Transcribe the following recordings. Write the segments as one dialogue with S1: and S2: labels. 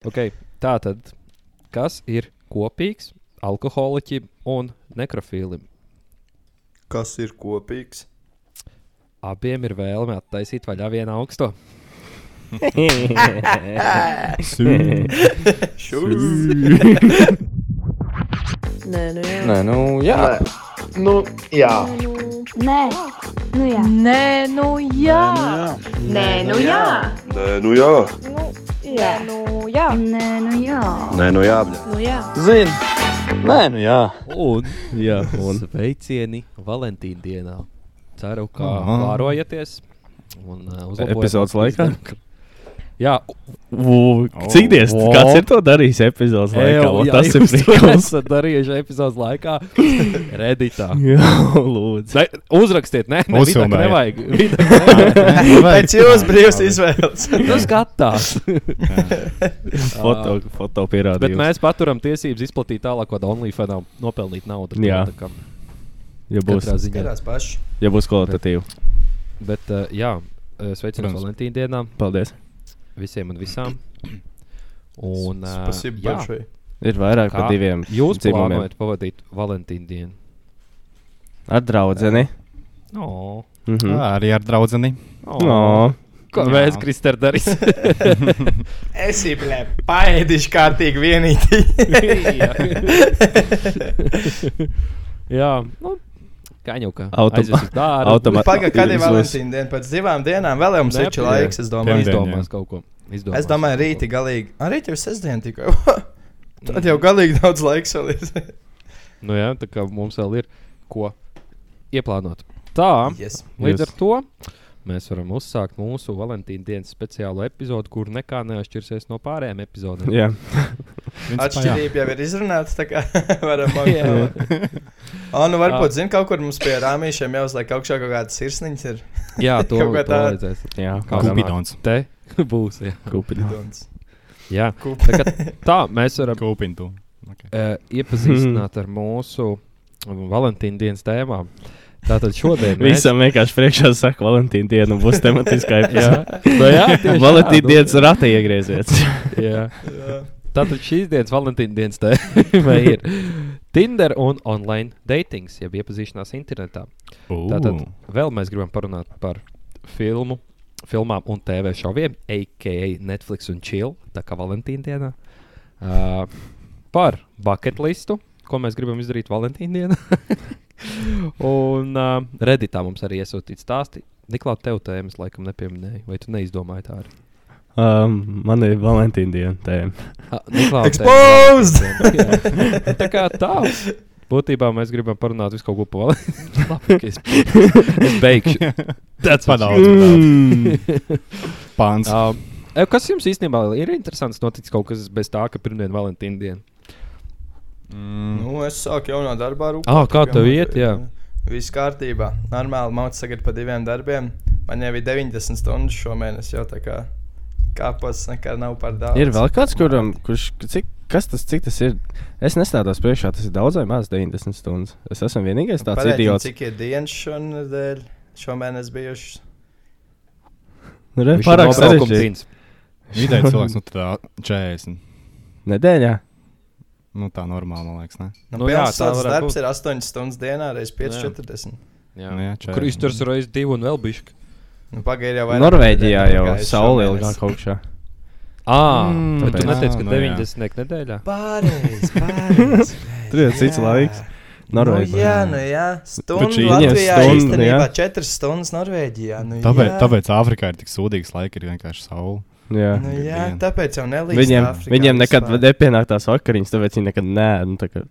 S1: Okay, tā tad, kas ir kopīgs alkoholiķim un nekrofīlim?
S2: Kas ir kopīgs?
S1: Abiem ir vēlme attaisīt vaļā vienu augstu.
S3: Nē, nu jā.
S4: Nē, nu jā.
S5: Nu, jā.
S6: Nē, nu jā.
S3: Nē, nu jā. Nē, nu jā.
S2: Nē, nu jā.
S3: Jā, nu jā.
S6: Nē, nu jā.
S2: Nē, nu jā.
S3: Nu jā.
S4: Zini. Nē, nu jā.
S1: Un, jā, un sveicieni Valentīna dienā. Ceru, ka
S4: Aha.
S1: vārojaties un uh, uzlabojaties.
S7: Epizodes laikā?
S1: Jā,
S7: Cik dies,
S4: Vo.
S7: kāds ir to darījis epizodes
S1: Ew,
S7: laikā? Vo,
S1: Oh, jā,
S7: Tas ir
S1: jūs to
S7: prikals.
S1: esat darījuši epizodes laikā. Reditā.
S7: Jā, lūdzu.
S1: Ne, uzrakstiet, nē, nē, vidak
S7: Uzfilmējiet.
S1: nevajag. Vidak nevajag.
S5: Pēc jūsu brīvas izvēles.
S1: Tas skatās.
S7: Foto, foto
S1: Bet
S7: pierādījums.
S1: mēs paturam tiesības izplatīt tālāk, kad OnlyFans nopelnīt naudu.
S7: Jā.
S1: tā kā
S7: Ja būs,
S1: katrā ziņā.
S2: Skatās paši.
S7: ja būs kvalitatīva.
S1: Bet, uh, jā, uh, sveicināts
S7: Protams.
S1: Valentīna dienā
S7: Paldies.
S1: visiem un visām. Un, uh,
S2: Spasība
S1: jā,
S2: pašai.
S7: Ir vairāk
S1: kā
S7: par diviem.
S1: Jūs
S7: dzimumiem.
S1: plānojat pavadīt Valentīna dienu.
S7: Ar draudzeni.
S1: No.
S7: Mhm.
S4: Ah, Arī ar draudzeni.
S7: No.
S1: Ko
S4: Jā.
S1: mēs, Kristēr, darīsim?
S5: Es īstenībā paēdīšu kārtīgi vienīgi.
S1: Jā, nu, kaņuka.
S7: Autom-
S1: Aizvesu dārbu.
S7: Automa-
S5: Pagaidām, kad ir
S7: Izlas-
S5: Valentīna diena, pēc divām dienām vēl jau mums
S1: Nē,
S5: ir laiks. Es domāju,
S4: Pirmdien.
S1: Izdomās kaut ko. Izdomās
S5: es domāju
S1: kaut
S5: rīti
S1: ko.
S5: galīgi. Arī tev ir sestdiena tikai. Tad jau galīgi daudz laiks vēl ir.
S1: Nu, jā, tā kā mums vēl ir ko ieplānot. Tā,
S5: Yes.
S1: līdz
S7: Jūs.
S1: ar to mēs varam uzsākt mūsu Valentīna dienas speciālo epizodi, kur nekā neatšķirsies no pārējām epizodēm.
S7: Jā.
S5: Atšķirība jau ir izrunāta, tā kā varam
S1: Jā.
S5: pagaidām. O,
S1: Ah.
S5: nu varbūt, zini, kaut kur mums pie rāmīšiem jau uzliek augšā kaut kādas sirsniņas ir
S1: jā to
S5: Kaut kā tā.
S1: redzēs.
S7: Jā. Kādam-
S4: Kupidons.
S1: Te būs. Jā.
S7: Kupidons.
S5: lidons.
S1: Jā.
S5: Kup.
S1: Tā, kā, tā mēs varam
S4: Kupindu. Okay.
S1: uh, iepazīstināt ar mūsu Valentīna dienas tēmām. Tātad šodien mēs
S7: Visam vienkārši priekšā saka, Valentīna diena un būs tematiskā epizode.
S1: Nu jā, tieši tā,
S7: Valentīna
S1: nu.
S7: dienas rata iegriezies.
S1: Jā. Tātad šīs dienas Valentīna dienas tēma ir Tinder un online datings, jeb iepazīšanās internetā. Tātad vēl mēs gribam parunāt par filmu, filmām un TV šoviem, a.k.a. Netflix un Chill, tā kā Valentīna dienā. Uh, par bucket listu, ko mēs gribam izdarīt Valentīna dienā. un uh, Redditā mums arī iesūtīts stāsti. Niklaus, tev tēmas laikam nepieminēja, vai tu neizdomāji tā arī?
S7: Um, man ir Valentīna diena tēma.
S1: Ah, Niklaus, tev-
S5: Exposed!
S1: Jā. tā kā tā. Būtībā mēs gribam parunāt visu kaut ko par Valentīnu. Labi, ka es, es beigšu.
S4: Tas padaudz.
S7: Mm.
S4: Pāns.
S1: Um, e, kas jums īstenībā ir interesants? Noticis kaut kas bez tā, ka pirmdiena ir Valentīna diena.
S4: Mm.
S5: Nu, es sāku jaunā darbā. rūpēt,
S1: Ah, kā
S5: tā
S1: tev
S5: man-
S1: iet? Jā.
S5: Viss kārtībā. Normāli mācās tagad par diviem darbiem. Man jau ir 90 stundas šomēnes, jau tā kā kāpos nekā nav par daudz.
S7: Ir vēl kāds, kuram, kurš, cik, kas tas, cik tas ir? Es nestādos priekšā, tas ir daudz vai maz 90 stundas. Es esmu vienīgais tāds
S5: Pareizi,
S7: idiots.
S5: Cik ir dienas šonadēļ? Šomēnes bijušas.
S7: Nu, re, Pārāk sarežģīti.
S1: sarežģīts.
S4: Vidēji cilvēks, nu tā 40.
S7: Nedēļā.
S4: Nu tā normāli, man liekas, ne?
S5: Nu,
S1: Nu
S5: nu,
S1: jā,
S5: jā,
S1: tā
S5: tāds
S1: varētu būt.
S5: darbs ir 8 stundas dienā, reizes 5,40.
S4: Nu, jā, 40.
S1: Kur izturās reizes divu un vēl bišķi?
S5: Nu, Pagaidā jau vairāk
S7: Norvēģijā
S5: nedēļu
S7: jau
S5: pagājis
S7: saule
S5: šomēnes.
S7: ilgāk augšā.
S5: Nu,
S1: Ah,
S4: Mm,
S1: bet tu
S7: tāpēc.
S1: neteici, ka
S4: Ah, nu jā.
S1: 90 nedēļā.
S5: Pareizi, pareizi.
S7: Tur ir cits
S5: Jā.
S7: laiks.
S5: Nu, jā,
S7: Norvēģijā.
S5: nu jā, stundu
S4: šī-
S5: Latvijā
S7: Viņiem stundu,
S5: īstenībā
S7: jā.
S5: 4 stundas Norvēģijā. Nu,
S4: Tāpēc,
S5: jā.
S4: tāpēc Āfrikā ir tik sūdīgs laika, ir vienkārši saule.
S7: Jā.
S5: Nu,
S4: Gan
S5: jā,
S4: dienu.
S5: tāpēc jau nelīdz
S7: Viņiem,
S5: Āfrikā
S7: viņiem nekad
S5: vispār.
S7: nepienāk tās vakariņas, tāpēc viņi nekad nē, nu tā kā.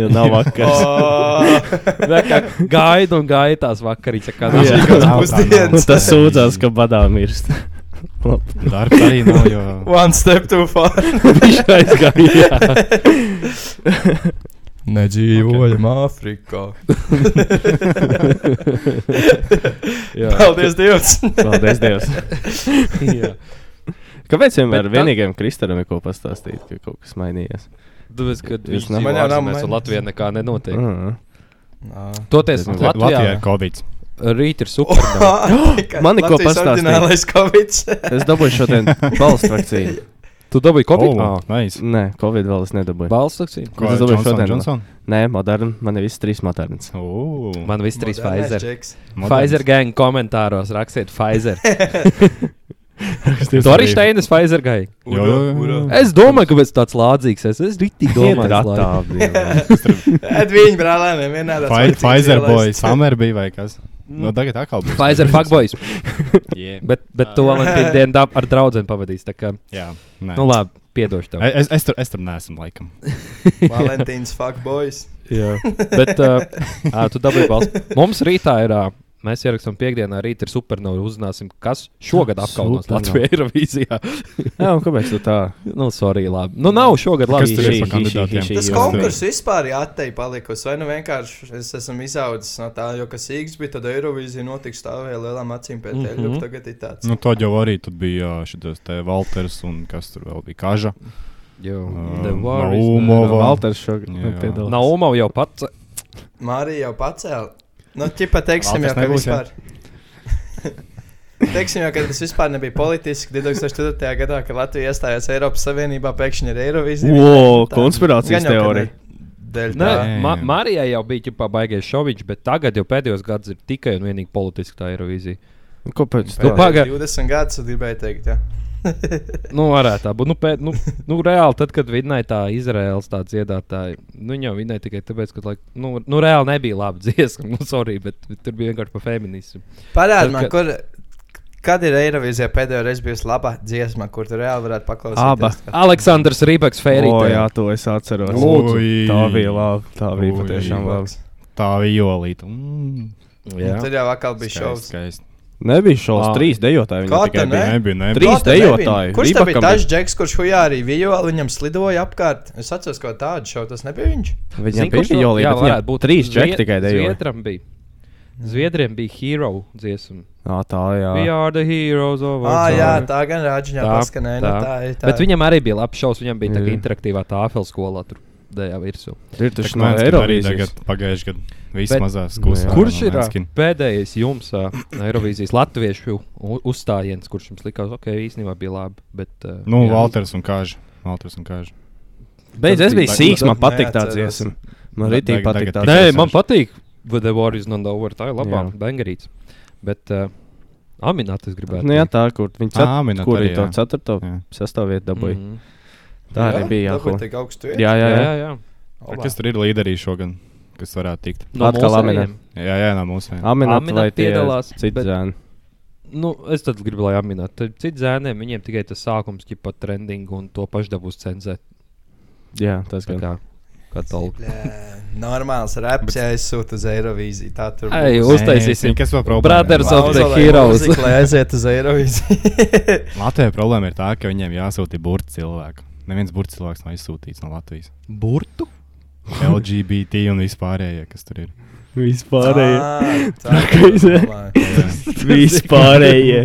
S7: Jo nav
S5: Oh,
S7: vakars.
S5: O,
S1: Vienkārši Gaida un gaida tās vakariņas. kā
S4: Jā.
S1: tas-
S5: šī kāds
S4: Nav tā,
S5: pusdienas.
S7: Un tas sūdzās, ka badā mirst.
S4: Darbs arī nav, jo
S5: One step too far.
S7: Viņš aizgāja.
S5: Nedzīvojam Āfrikā.
S1: Jā.
S5: Paldies Dievam!
S7: Paldies Dievam.
S1: Jā.
S7: Kāpēc
S1: Bet
S7: vienmēr bet
S1: tad-
S7: vienīgajam kristālam ir ko pastāstīt, ka kaut kas mainījies?
S1: Tāpēc, kad
S7: Jūs
S1: viņš
S7: nav-
S1: man
S5: Man jau
S1: jau
S5: nav
S1: nav.
S5: mainījies.
S1: Latvijā nekā nenotiek.
S7: Mm.
S1: Toties Latvijā,
S7: Tad
S4: Nu, Latvijā ir
S1: Latvijā
S4: Covid.
S1: rīt ir super.
S7: Man ir ko pastāstīt.
S5: Nacionālais Covid.
S7: Es dabūju šodien balstu vakcīnu.
S1: Tu dabūji kopiju?
S4: Oh, nice.
S7: Nē, Covid vēl es nedabūju.
S1: Balsts vakcīna.
S4: Ko
S7: Nu, Es
S4: es
S7: domāju,
S4: domāju
S7: šodien
S4: šodien?
S7: vēl.
S4: Johnson?
S7: Nē, modern. Man ir viss trīs moderns.
S4: Oh,
S1: Man viss trīs Pfizer.
S5: Džeks.
S4: moderns.
S1: Pfizer gang komentāros rakstiet Pfizer.
S4: Rakstīs
S1: Doris
S4: arī.
S1: Steinas Pfizer gang.
S4: Jā, jā, jā.
S1: Es domāju, ka pēc tāds lādzīgs es esmu. Es rītīgi domāju. es laiku.
S5: Ed viņi brālēniem vienādā.
S4: Pfi- Pfizer boy, Summer bija vai kas? Nu, tagad atkal būs.
S1: Pfizer fuckboys.
S4: Yeah.
S1: Bet, bet to Valentīna dienu dab- ar draugu pavadīs. Tā kā,
S4: Jā, nē.
S1: nu labi, piedošu tev.
S4: Es, es, tur, es tur neesmu, laikam.
S5: Valentīns fuckboys.
S1: Jā, bet uh, ā, tu dabūji balstu. Mums rītā ir. Uh, Mēs ierakstām piekdienā, rīt ir supernova. Uzzināsim, kas šogad apkaunos
S7: Supernova.
S1: Latvijas Eirovīzijā.
S7: Jā, un kāpēc tu tā?
S1: nu, sorry, labi. Nu, nav šogad
S4: Kas
S1: labi.
S4: tur ir
S7: šī-
S4: par kandidātiem?
S7: šī- šī-
S5: Tas
S7: Jā.
S5: konkurss vispār ir attei palikusi. Vai nu vienkārši es esmu izaudzis no tā, jo kas īks bija, tad Eirovīzija notiks stāvēja lielām acīm pēc
S1: Mhm.
S5: mm -hmm. tagad ir tāds.
S4: Nu, to jau arī tur bija šis te Walters un kas tur vēl bija Kaža.
S1: Jo,
S4: Um,
S1: the war is
S4: Naumova.
S1: the-
S7: Valters šogad
S4: Jā.
S7: nepiedalās.
S1: Naumov jau pats.
S5: Mārija jau pacēla. Nu, ķipa, teiksim,
S4: Vēl tas
S5: jau, ka
S4: nebūs, jā?
S5: vispār. teiksim jau, ka tas vispār nebija politiski. 2004. gadā, kad Latvija iestājās Eiropas Savienībā, pēkšņi ir Eirovizija.
S7: Wow,
S5: Tā.
S7: konspirācijas
S5: Gan jau, ka
S7: teorija.
S5: ne- Dēļ tā.
S1: Nē, ma Marijai jau bija ģipā, baigais šoviņš, bet tagad jau pēdējos gados ir tikai un vienīgi politiski tā Eirovīzija. Nu,
S7: Kāpēc tā?
S1: pa- paga-
S5: 20 gadus gribēju teikt, jā.
S1: Nu, varētu tā būt. Nu, pē, nu, nu, reāli, tad, kad vinnēja tā Izraels tā dziedātāja, nu, viņa jau vinnēja tikai tāpēc, ka, laik, nu, nu, reāli nebija laba dziesma. Nu, sorry, bet tur bija vienkārši par feminismu.
S5: Parādi
S1: Tad,
S5: man,
S1: kad-
S5: kur. Kad ir Eirovizija pēdējo reizi bijusi laba dziesma, kur tu reāli varētu paklausīties?
S7: Aba.
S1: Aleksandrs Rībaks, Fērija.
S7: O, jā, to es atceros.
S4: Lūdzu.
S7: Tā bija labi. Tā bija
S4: Ui.
S7: patiešām labi.
S4: Tā bija jolīta. Mm.
S1: jā.
S5: Tad jau atkal bija šovs.
S4: Skaisti.
S7: Nebija šovs
S1: Ā.
S7: trīs dejotāji.
S5: Kā
S7: viņiem tikai
S5: tā
S7: bija.
S5: Nē.
S4: Nebija, nebija.
S7: Trīs
S5: Kā tev nebija?
S7: dejotāji.
S5: Kurš tas bija
S7: Rībakam
S5: tas džeks, kurš hujā arī bija? Viņam slidoja apkārt. Es atceros, ka tādu šovu tas nebija viņš.
S7: Viņam bija jau
S1: jā,
S7: līnija,
S1: varētu
S7: bet
S1: būt
S7: būt trīs džeki
S1: Zvied-
S7: tikai dejoja.
S1: Zviedram bija. Zviedriem bija hero dziesma.
S7: Ā, tā jā. Ah,
S1: We are the heroes of
S5: Ā,
S1: our
S5: jā,
S1: time.
S5: tā gan rāģiņā
S1: Tā,
S5: paskanēja. Tā,
S1: tā.
S5: tā, ir tā.
S1: Bet viņam arī bija labs šovs. Viņam bija tā kā
S7: Jā.
S1: interaktīvā tāfelē skolā. Tur dēļā virsū.
S7: Ir
S4: Tas
S7: tas no Eiropas.
S4: tagad pagājušajā gadā. Viss
S1: Bet-
S4: mazās klusās.
S7: Jā,
S1: Kurš ir ā, pēdējais jums ā, Eirovīzijas latviešu u- uzstājiens, kurš jums likās, ok, īstenībā bija labi? Bet, ā,
S4: Nu,
S1: jā.
S4: Walters un Kaža. Walters un Kaža.
S7: Beidz, es biju
S5: Tas
S7: sīgs,
S5: bija-
S7: man patīk
S5: neatceros.
S7: tāds iesim. Man arī
S4: Tagad-
S7: tīk patīk
S4: tagad
S7: tāds.
S1: Nē,
S4: Tikai
S1: man
S4: sešas.
S1: patīk. But the war is not over. Tā ir labā.
S7: Jā.
S1: Bangarīts. Bet uh, Aminat es gribētu.
S7: Nu jā, tā, kur viņi
S4: Ā,
S7: cat-
S4: Aminat
S7: kur
S4: arī,
S7: viņi to
S4: jā.
S7: ceturto,
S4: Jā.
S7: sesto vietu dabūja.
S1: Mhm.
S7: Tā arī bija
S5: Tāpat
S7: jābūt.
S5: tik augstu.
S7: Jā, jā,
S1: jā,
S7: jā.
S1: jā, jā.
S4: Ar Kas tur ir līderī šogad? Kas varētu tikt?
S1: No
S7: Atkal
S1: mūsu
S7: Aminat.
S1: ejiem.
S4: Jā, jā, no mūsu. jā.
S7: Aminat
S1: Aminat
S7: vai tie
S1: piedalās,
S7: citi
S1: bet-
S7: zēni.
S1: Nu, es tad gribu, lai aminētu. Tad Citi zēniem, viņiem tikai tas sākums, ka pat trending un to pašu dabūs cenzēt.
S7: Jā, tas
S1: Tā
S7: gan.
S1: kā, kā tālu.
S5: Normāls raps, ja es sūtu uz Eirovīziju. Tā tur
S1: Ei,
S5: būs.
S1: uz- uztaisīsim.
S4: Nē, Kas vēl problēma?
S1: Brothers
S4: ir?
S1: of the
S5: Klauzulē
S1: heroes.
S5: mūzika, Lai aiziet uz Eirovīziju.
S4: Latvijai problēma ir tā, ka viņiem jāsūta burts cilvēku. Neviens burts cilvēks nav izsūtīts no Latvijas.
S1: Burtu?
S4: LGBT un vispārējie, kas tur ir.
S7: Vispārējie.
S5: Ā,
S7: Trakais, jā.
S5: tā ir.
S7: Vispārējie.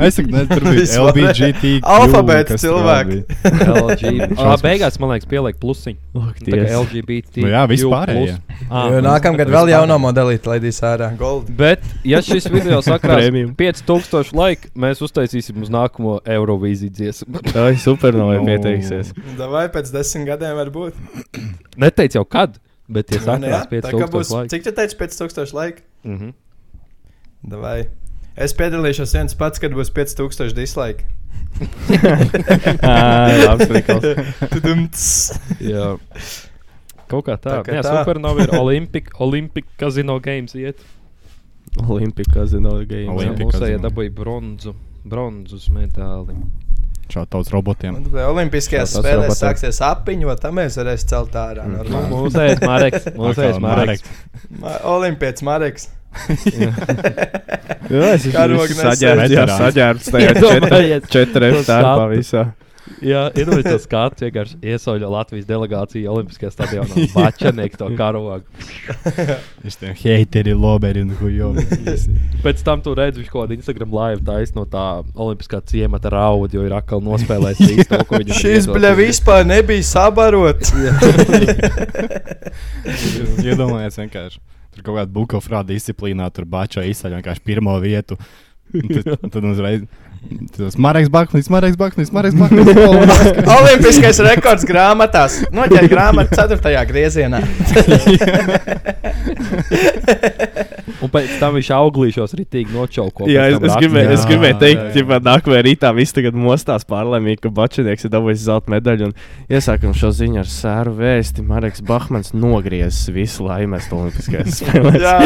S4: Es saku, ne, tur bija
S5: Vispārējie.
S4: LGBT.
S5: Alfabēts cilvēki.
S1: LGBT.
S4: Šausmas.
S1: Ah, beigās, man liekas, pieliek plusiņu. Tā kā
S7: Ties.
S1: LGBT.
S4: Nu jā, vispārējie.
S1: Ah.
S5: Jo Nākamgad vēl jauno modelīti laidīs ārā. Gold.
S1: Bet, ja šis video sakrās
S7: Premium.
S1: 5000 laika, mēs uztaisīsim uz nākamo Eirovīzijas dziesmu.
S7: Tā ir supernovai
S4: Nu.
S7: pieteiksies.
S5: Vai pēc desmit gadiem var būt?
S1: Neteicu jau kad, bet, ja
S5: Nu, jā,
S1: sakrās
S5: tā kā
S1: 5000
S5: būs-
S1: laika.
S5: Cik tu teici 5000 laika?
S1: Mhm.
S5: Davai. Es piedalīšos viens pats, kad būs 5000 dislike.
S7: Ā, labs prikals.
S5: Tudumts.
S1: Jā. Kaut kā tā.
S5: Tā kā
S1: Jā,
S5: tā.
S1: Supernova ir Olimpic, Olimpic Casino Games iet.
S7: Olimpikā zina,
S1: Jā,
S4: Olimpi-
S7: games.
S4: Olimpic
S1: Mums ir
S4: Casino.
S1: dabūja bronzu, bronzas medaļu.
S4: Šādi tauts robotiem.
S5: Olimpiskajās
S7: Tas
S5: spēlēs
S7: robots.
S5: sāksies apiņu, vai tā mēs varēsim celt ārā. normāli.
S1: Mūsējais Mm. Mareks, mūsējais
S4: Atkal
S1: Mareks.
S5: Ma- Olimpietis Mareks.
S7: Jā, es esmu
S5: Karogi
S7: saģērbts, jā,
S4: nesaģērbts.
S7: saģērbts tajā
S1: Iedomājies
S7: četri- četri
S1: to
S7: starpā
S1: sāpju.
S7: visā.
S1: Jā, iedomājieties, kāds vienkārši iesauļo Latvijas delegāciju Olimpiskajā stadionā. Bačanieks to karogu.
S4: Viņš tiem heiteri, loberi un hujo.
S1: Pēc tam tu redzi, viņš kaut kādu Instagram live taisno no tā Olimpiskā ciemata raudu, jo ir atkal nospēlējis visu to, ko viņš ir
S5: Šis
S1: iedodas.
S5: bļa vispār nebija sabarots.
S4: Iedomājies vienkārši. Tur kaut kāda buļbuļsaktas disciplīnā, tur bačā izsaka vienkārši pirmo vietu. Un Tad, tad uzreiz Tas Marks Baknis, Marks Baknis, Marks Baknis.
S5: Olimpiskais rekords grāmatās. Noķer grāmatu 4. griezienā.
S1: Un pēc tam viņš auglīšos ritīgi nočauko.
S7: Jā, es,
S1: pēc tam
S7: es,
S1: nāk-
S7: gribēju, es
S4: jā,
S7: gribēju
S4: jā,
S7: teikt,
S4: jā.
S7: ka nākamajā rītā viss tagad mostās pārlēmīgi, ka Bačinieks ir dabūjis zelta medaļu. un Iesākam šo ziņu ar sēru vēsti. Marks Bahmans nogriezis visu laimes Olimpiskajās spēlēs.
S5: Jā.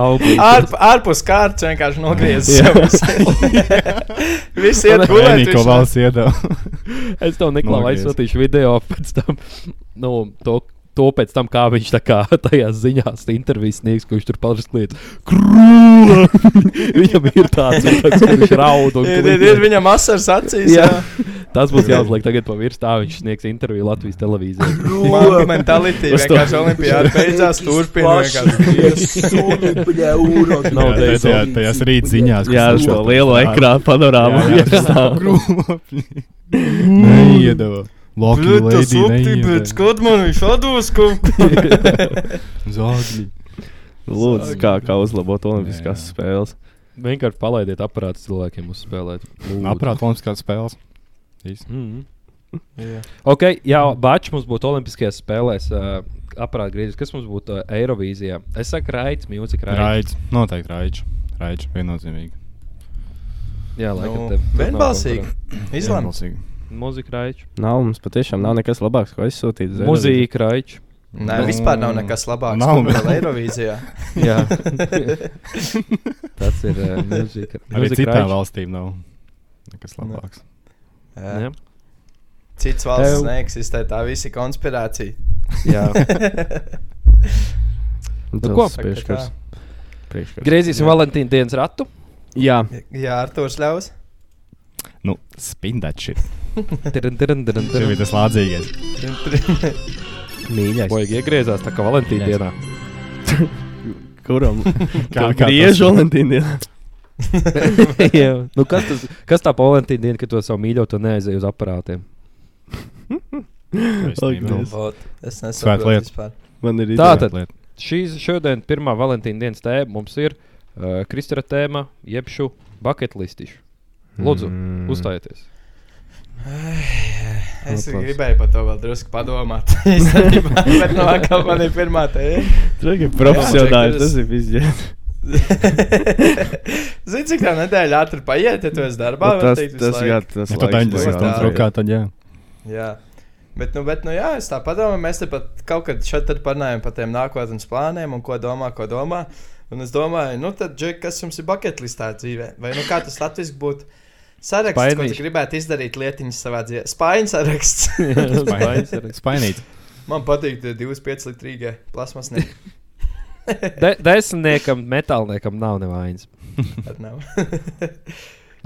S1: Auglīšos.
S5: Ārp, ārpus kārtas vienkārši nogriezis.
S7: Jā.
S5: Visi iet gulēt.
S4: Niko
S5: viņš-
S4: valsts iedeva.
S1: Es tev Niklā
S4: Nogriez.
S1: aizsūtīšu video pēc tam. Nu, to, to pēc tam, kā viņš tā kā tajās ziņās intervijas sniegs, kurš tur paldies kliedz. Krūla! Viņam ir tāds, cilvēks, kurš raud un
S5: Ir, ir, ir
S1: kliedz.
S5: viņam asaras acīs.
S1: Jā.
S5: Jā.
S1: Tas būs jāuzliek tagad pavirs, tā viņš sniegs interviju Latvijas televīzijā.
S5: Māma mentalitāte.
S1: Uz to.
S5: Vienkārši olimpiāda beidzās, turpina
S2: vienkārši.
S1: Nav
S4: Jā,
S1: dēļ.
S4: tajā- Tajās rīt ziņās.
S7: Jā, uz to lielo ekrānu panorāmu.
S4: Jā, jā. Neiedeva. Loki,
S5: Tas
S4: Lady,
S5: uptīpēc,
S4: neiedeva.
S5: kad man viņš atdos kaut ko.
S4: Zogļi.
S7: Lūdzu, kā, kā uzlabot Olimpiskās
S4: Jā.
S7: spēles.
S1: Vienkārši palaidiet aparātu cilvēkiem uz spēlēt.
S4: Aprāt, mums kāds spēles.
S1: Mm. Ok, jā, Bačs mums būtu Olimpiskajās spēlēs. Uh, Aparāts griežas, kas mums būtu uh, Eirovīzijā. Es saku, Raits, mūzika, Raits.
S4: Raids. Noteikti raids. Raids, viennozīmīgi.
S1: Jā, laikam,
S5: Nu,
S1: tā
S5: vienbalsīgi. Izlēma.
S4: Vienbalsīgi.
S1: Mūzika, Raits.
S7: Nav mums patiešām nav nekas labāks, ko aizsūtīt. uz Eirovizi.
S1: Mūzika, Raits.
S5: Nē,
S1: Nu,
S5: vispār nav nekas labāks.
S4: Nav.
S5: Nav vēl Eirovīzijā.
S1: Jā, tas ir uh, mūzika.
S4: Arī citām valstīm nav nekas labāks.
S5: Jā.
S1: Jā,
S5: Cits valsts
S1: Tev.
S5: neeksistē, tā visi konspirācija.
S1: jā.
S7: Un
S1: Nu,
S7: tas
S1: ko?
S7: Priekškars. Priekškars.
S1: griezīsim Valentīna dienas ratu.
S7: Jā,
S5: Jā, Arthurs ļaus.
S4: Nu, spindači.
S1: Tirin, tirin, tirin,
S4: Tas bija
S1: tirin.
S4: tas lādzīgais.
S7: mīļākais.
S1: Boigi iegriezās tā kā Valentīna
S4: Mīļais.
S1: dienā.
S7: Kuram? Kā
S4: tas-
S7: griež Valentīna dienā?
S1: Jā. nu, kas, tas, kas tā pa Valentīna dienu, kad to savu mīļoto neaizēju uz aparātiem?
S4: Es
S7: Ak,
S4: nemīlu.
S7: Dievs.
S5: Ot, Es
S4: Svēta
S5: nesaprotu
S4: lieta.
S5: vispār.
S7: Man ir
S1: Tā
S7: ideja.
S1: tad
S4: lieta.
S1: šīs šodien pirmā Valentīna dienas tēma mums ir uh, Kristāla tēma, jeb šo buļbuļsaktišu. Lūdzu, mm. uzstājieties.
S5: Es
S7: Atklāts.
S5: gribēju par to vēl drusku padomāt. īstenībā, Bet no kā man ir pirmā tēma.
S7: Tagad profesionāli
S5: Jā,
S7: tas ir viss.
S5: Zini, cik tā nedēļa ātri paiet, ja tu esi darbā.
S7: Nu,
S5: var
S7: Tas
S5: teikt, visu
S7: tas
S5: laiku.
S7: jā, tas
S4: Ja tu
S7: laiks
S4: taņģis
S7: paiet
S5: tā
S4: stundas
S7: ātri.
S4: rokā, tad jā.
S5: Jā. Bet, nu, bet, nu, jā, es tā padomāju, mēs te pat kaut kad šeit tad parunājam par tiem nākotnes plāniem un ko domā, ko domā. Un es domāju, nu, tad, Džek, kas jums ir buļbuļsaktas dzīvē? Vai nu kā tas latviešu būtu? Saraksts, ko
S1: Spainīši.
S5: tu gribētu izdarīt lietiņas savā dzīvē. Spāņu saraksts.
S4: Spainīt.
S5: Man patīk tie 25 litrīgie plasmas. Nē,
S1: De desmitniekam, metālniekam nav nevainas.
S5: tad nav.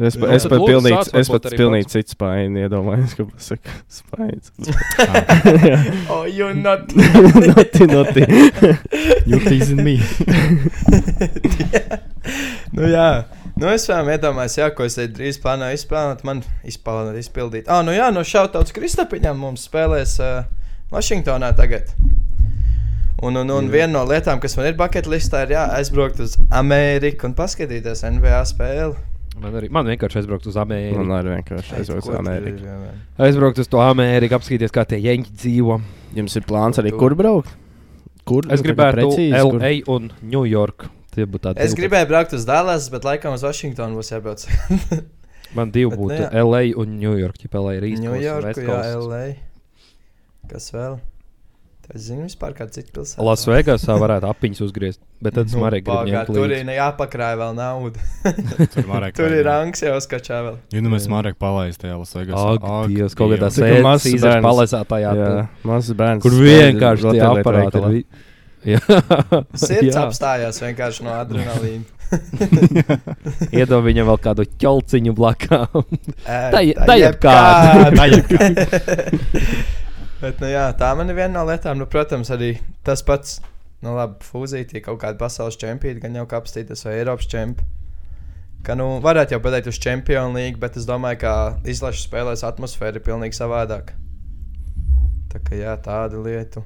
S7: Es
S1: Nu,
S7: pa- Es
S1: tad
S7: pat
S1: lūdzu,
S7: pilnīgi,
S1: sāc
S7: es
S1: varbūt
S7: pat
S1: arī
S7: pilnīgi citu spaini iedomājos, ka pasaka spains.
S5: Oh, you're not.
S7: Noti, noti.
S4: You teasing me.
S5: Nu, jā, nu, es vēl iedomājos, jā, ko es te drīz plānoju izpēlēt. Man izpēlēt, izpildīt. Ah, nu jā, no šautauts Kristapiņam mums spēlēs uh, Vašingtonā tagad. Un, un, un viena no lietām, kas man ir buļbuļsaktas, ir jā, aizbraukt uz Ameriku un paskatīties NBA spēli.
S1: Man, arī, man vienkārši aizbraukt uz
S7: Man
S1: Ameriku.
S7: arī vienkārši aizvāc uz Ameriku.
S1: Aizbraukt uz to Ameriku, apskatīties, kā tie jēņķi dzīvo.
S7: Jums ir plāns arī kur braukt? Kur?
S1: Es
S7: Nu, tā kā
S1: gribētu
S7: precīzi,
S1: LA
S7: kur?
S1: un New York. Tie būtu tādi.
S5: Es
S1: divi,
S5: gribēju braukt uz Dallas, bet laikam uz Vašingtonu būs jābrauc.
S1: bet Man divi
S5: bet
S1: būtu
S5: ne, jā.
S1: LA un New York. Ja LA ir īsta.
S5: Ņujorka, jā, LA. Kas vēl? Es zinu, vispār kāda cita pilsēta.
S1: Lasvegasā varētu apiņas uzgriezt, bet tad smarīgi
S5: pagā,
S1: gribētu
S5: Nu, tur
S1: ņemt
S5: ir jāpakrāj vēl nauda.
S4: Tur Marek
S5: Tur ir
S4: vai-
S5: rangs jau skačā vēl.
S4: Ja nu mēs Marek palaist tajā Las Vegas.
S1: Ak, Dievs, kaut kādā
S7: Cik
S1: sēdē,
S7: mazs
S1: Cīzara
S7: bērns.
S1: palazētājā.
S7: Jā, mazs bērns.
S1: Kur
S7: spēlē
S1: vienkārši tie
S7: rotaļlietu
S1: aparāti ir
S7: veikalā.
S1: vi- Jā,
S5: Sirds
S1: Jā.
S5: apstājās vienkārši no adrenalīna.
S1: Iedod viņam vēl kādu ķelciņu blakām.
S5: Ē,
S1: Tā je-
S5: tā
S1: tā jebkāda.
S5: jebkāda. Bet, nu, jā, tā man ir viena no lietām. Nu, protams, arī tas pats, nu, labi, fūzītī kaut kāda pasaules čempiona, gan jau kapstītas vai Eiropas čempiona. Ka, nu, varētu jau pateikt uz Champions League, bet es domāju, ka izlaša spēlēs atmosfēra ir pilnīgi savādāka. Tā kā jā, tāda lieta.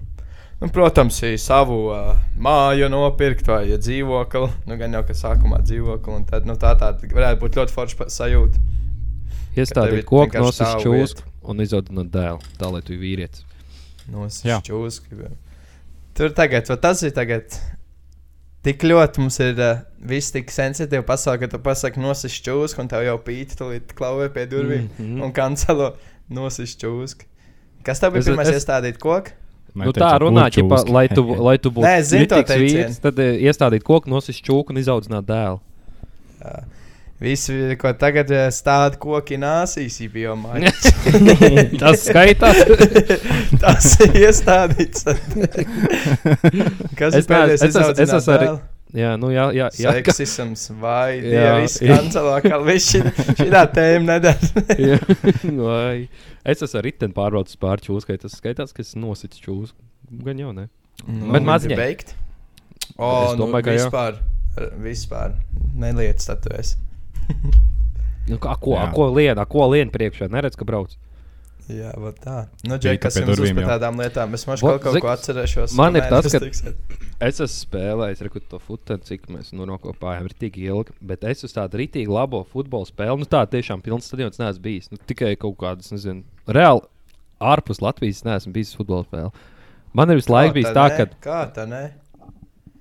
S5: Nu, protams, ir savu uh, māju nopirkt vai ja dzīvokli. Nu, gan jau, ka sākumā dzīvokli, un tad, nu, tā tāda varētu būt ļoti forša pa- sajūta. tev
S1: Iestādīt
S5: ir
S1: koku,
S5: vienkārši
S1: nosis
S5: stāv
S1: čūsku un izaudzināt dēlu. Tā lai tu vīrietis.
S5: Nu,
S4: Jā.
S5: Nosčūska. Tur tagad, va, tas ir tagad. Tik ļoti mums ir uh, viss tik sensitīvi pasaule, ka tu pasaki nosčūska un tev jau pīķi tulīt klauvē pie durvīm mm
S1: Mhm.
S5: -hmm. un kancelo nosčūska. Kas tev bija
S1: Es-
S5: pirmais
S1: es-
S5: iestādīt koku?
S1: Nu, tā runā, ķipa, lai tu, bu- lai tu būtu
S5: Nē, es zinu to
S1: mitīgs
S5: teicienu.
S1: vīrs, tad eh, iestādīt koku, nosis čūsku un izaudzināt dēlu.
S5: Visi, ko tagad eh, stāda koki nāsīs, jau mājā.
S1: Tas skaitās.
S5: Tas ir iestādīts. Kas ir
S1: Es neesmu-
S5: pēdējais?
S1: es esmu- es
S5: izaudzināt
S1: esmu arī-
S5: dēlu?
S1: jā, nu jā, jā, jā. ka-
S5: Seksisms vai
S1: Jā.
S5: dievis kancelā, ka viņš šitā tēma nedara.
S1: Jā. Vai. Es esmu arī ten pārbaudījis pār čūsku, tas skaitās, ka es nosicu čūsku. Gan jau ne.
S4: Mm.
S1: Bet mazņai.
S5: Nu, beigt. O,
S1: Es
S5: es domāju,
S1: domāju,
S5: nu,
S1: ka jā.
S5: vispār, vispār neliec statuēs.
S1: Nu, kā, ko,
S4: Jā.
S1: ko lienu, ko lienu priekšā? Neredz, ka brauc.
S5: Jā, vat tā. Nu,
S4: Bija
S5: Džek,
S4: tā
S5: kas
S4: pie
S5: jums uz
S4: durvīm,
S5: par
S4: jā.
S5: tādām lietām? Es mažu
S1: Vot,
S5: kaut, kaut
S1: zini,
S5: ko atcerēšos. nu,
S1: man ir
S5: kamēr
S1: tas,
S5: jūs
S1: ka-
S5: tiksiet.
S1: Es esmu spēlējis, reku to futbolu, cik mēs nu, nokopājām, ir tik ilgi. Bet es uz tādu rītīgi labo futbola spēli, nu tā tiešām pilns stadions neesmu bijis. Nu, tikai kaut kādas, nezinu, reāli ārpus Latvijas neesmu bijis uz futbola spēli. Man ir visu laiku
S5: Kā
S1: bijis tā,
S5: tā nē?
S1: ka
S5: Kā tā, nē?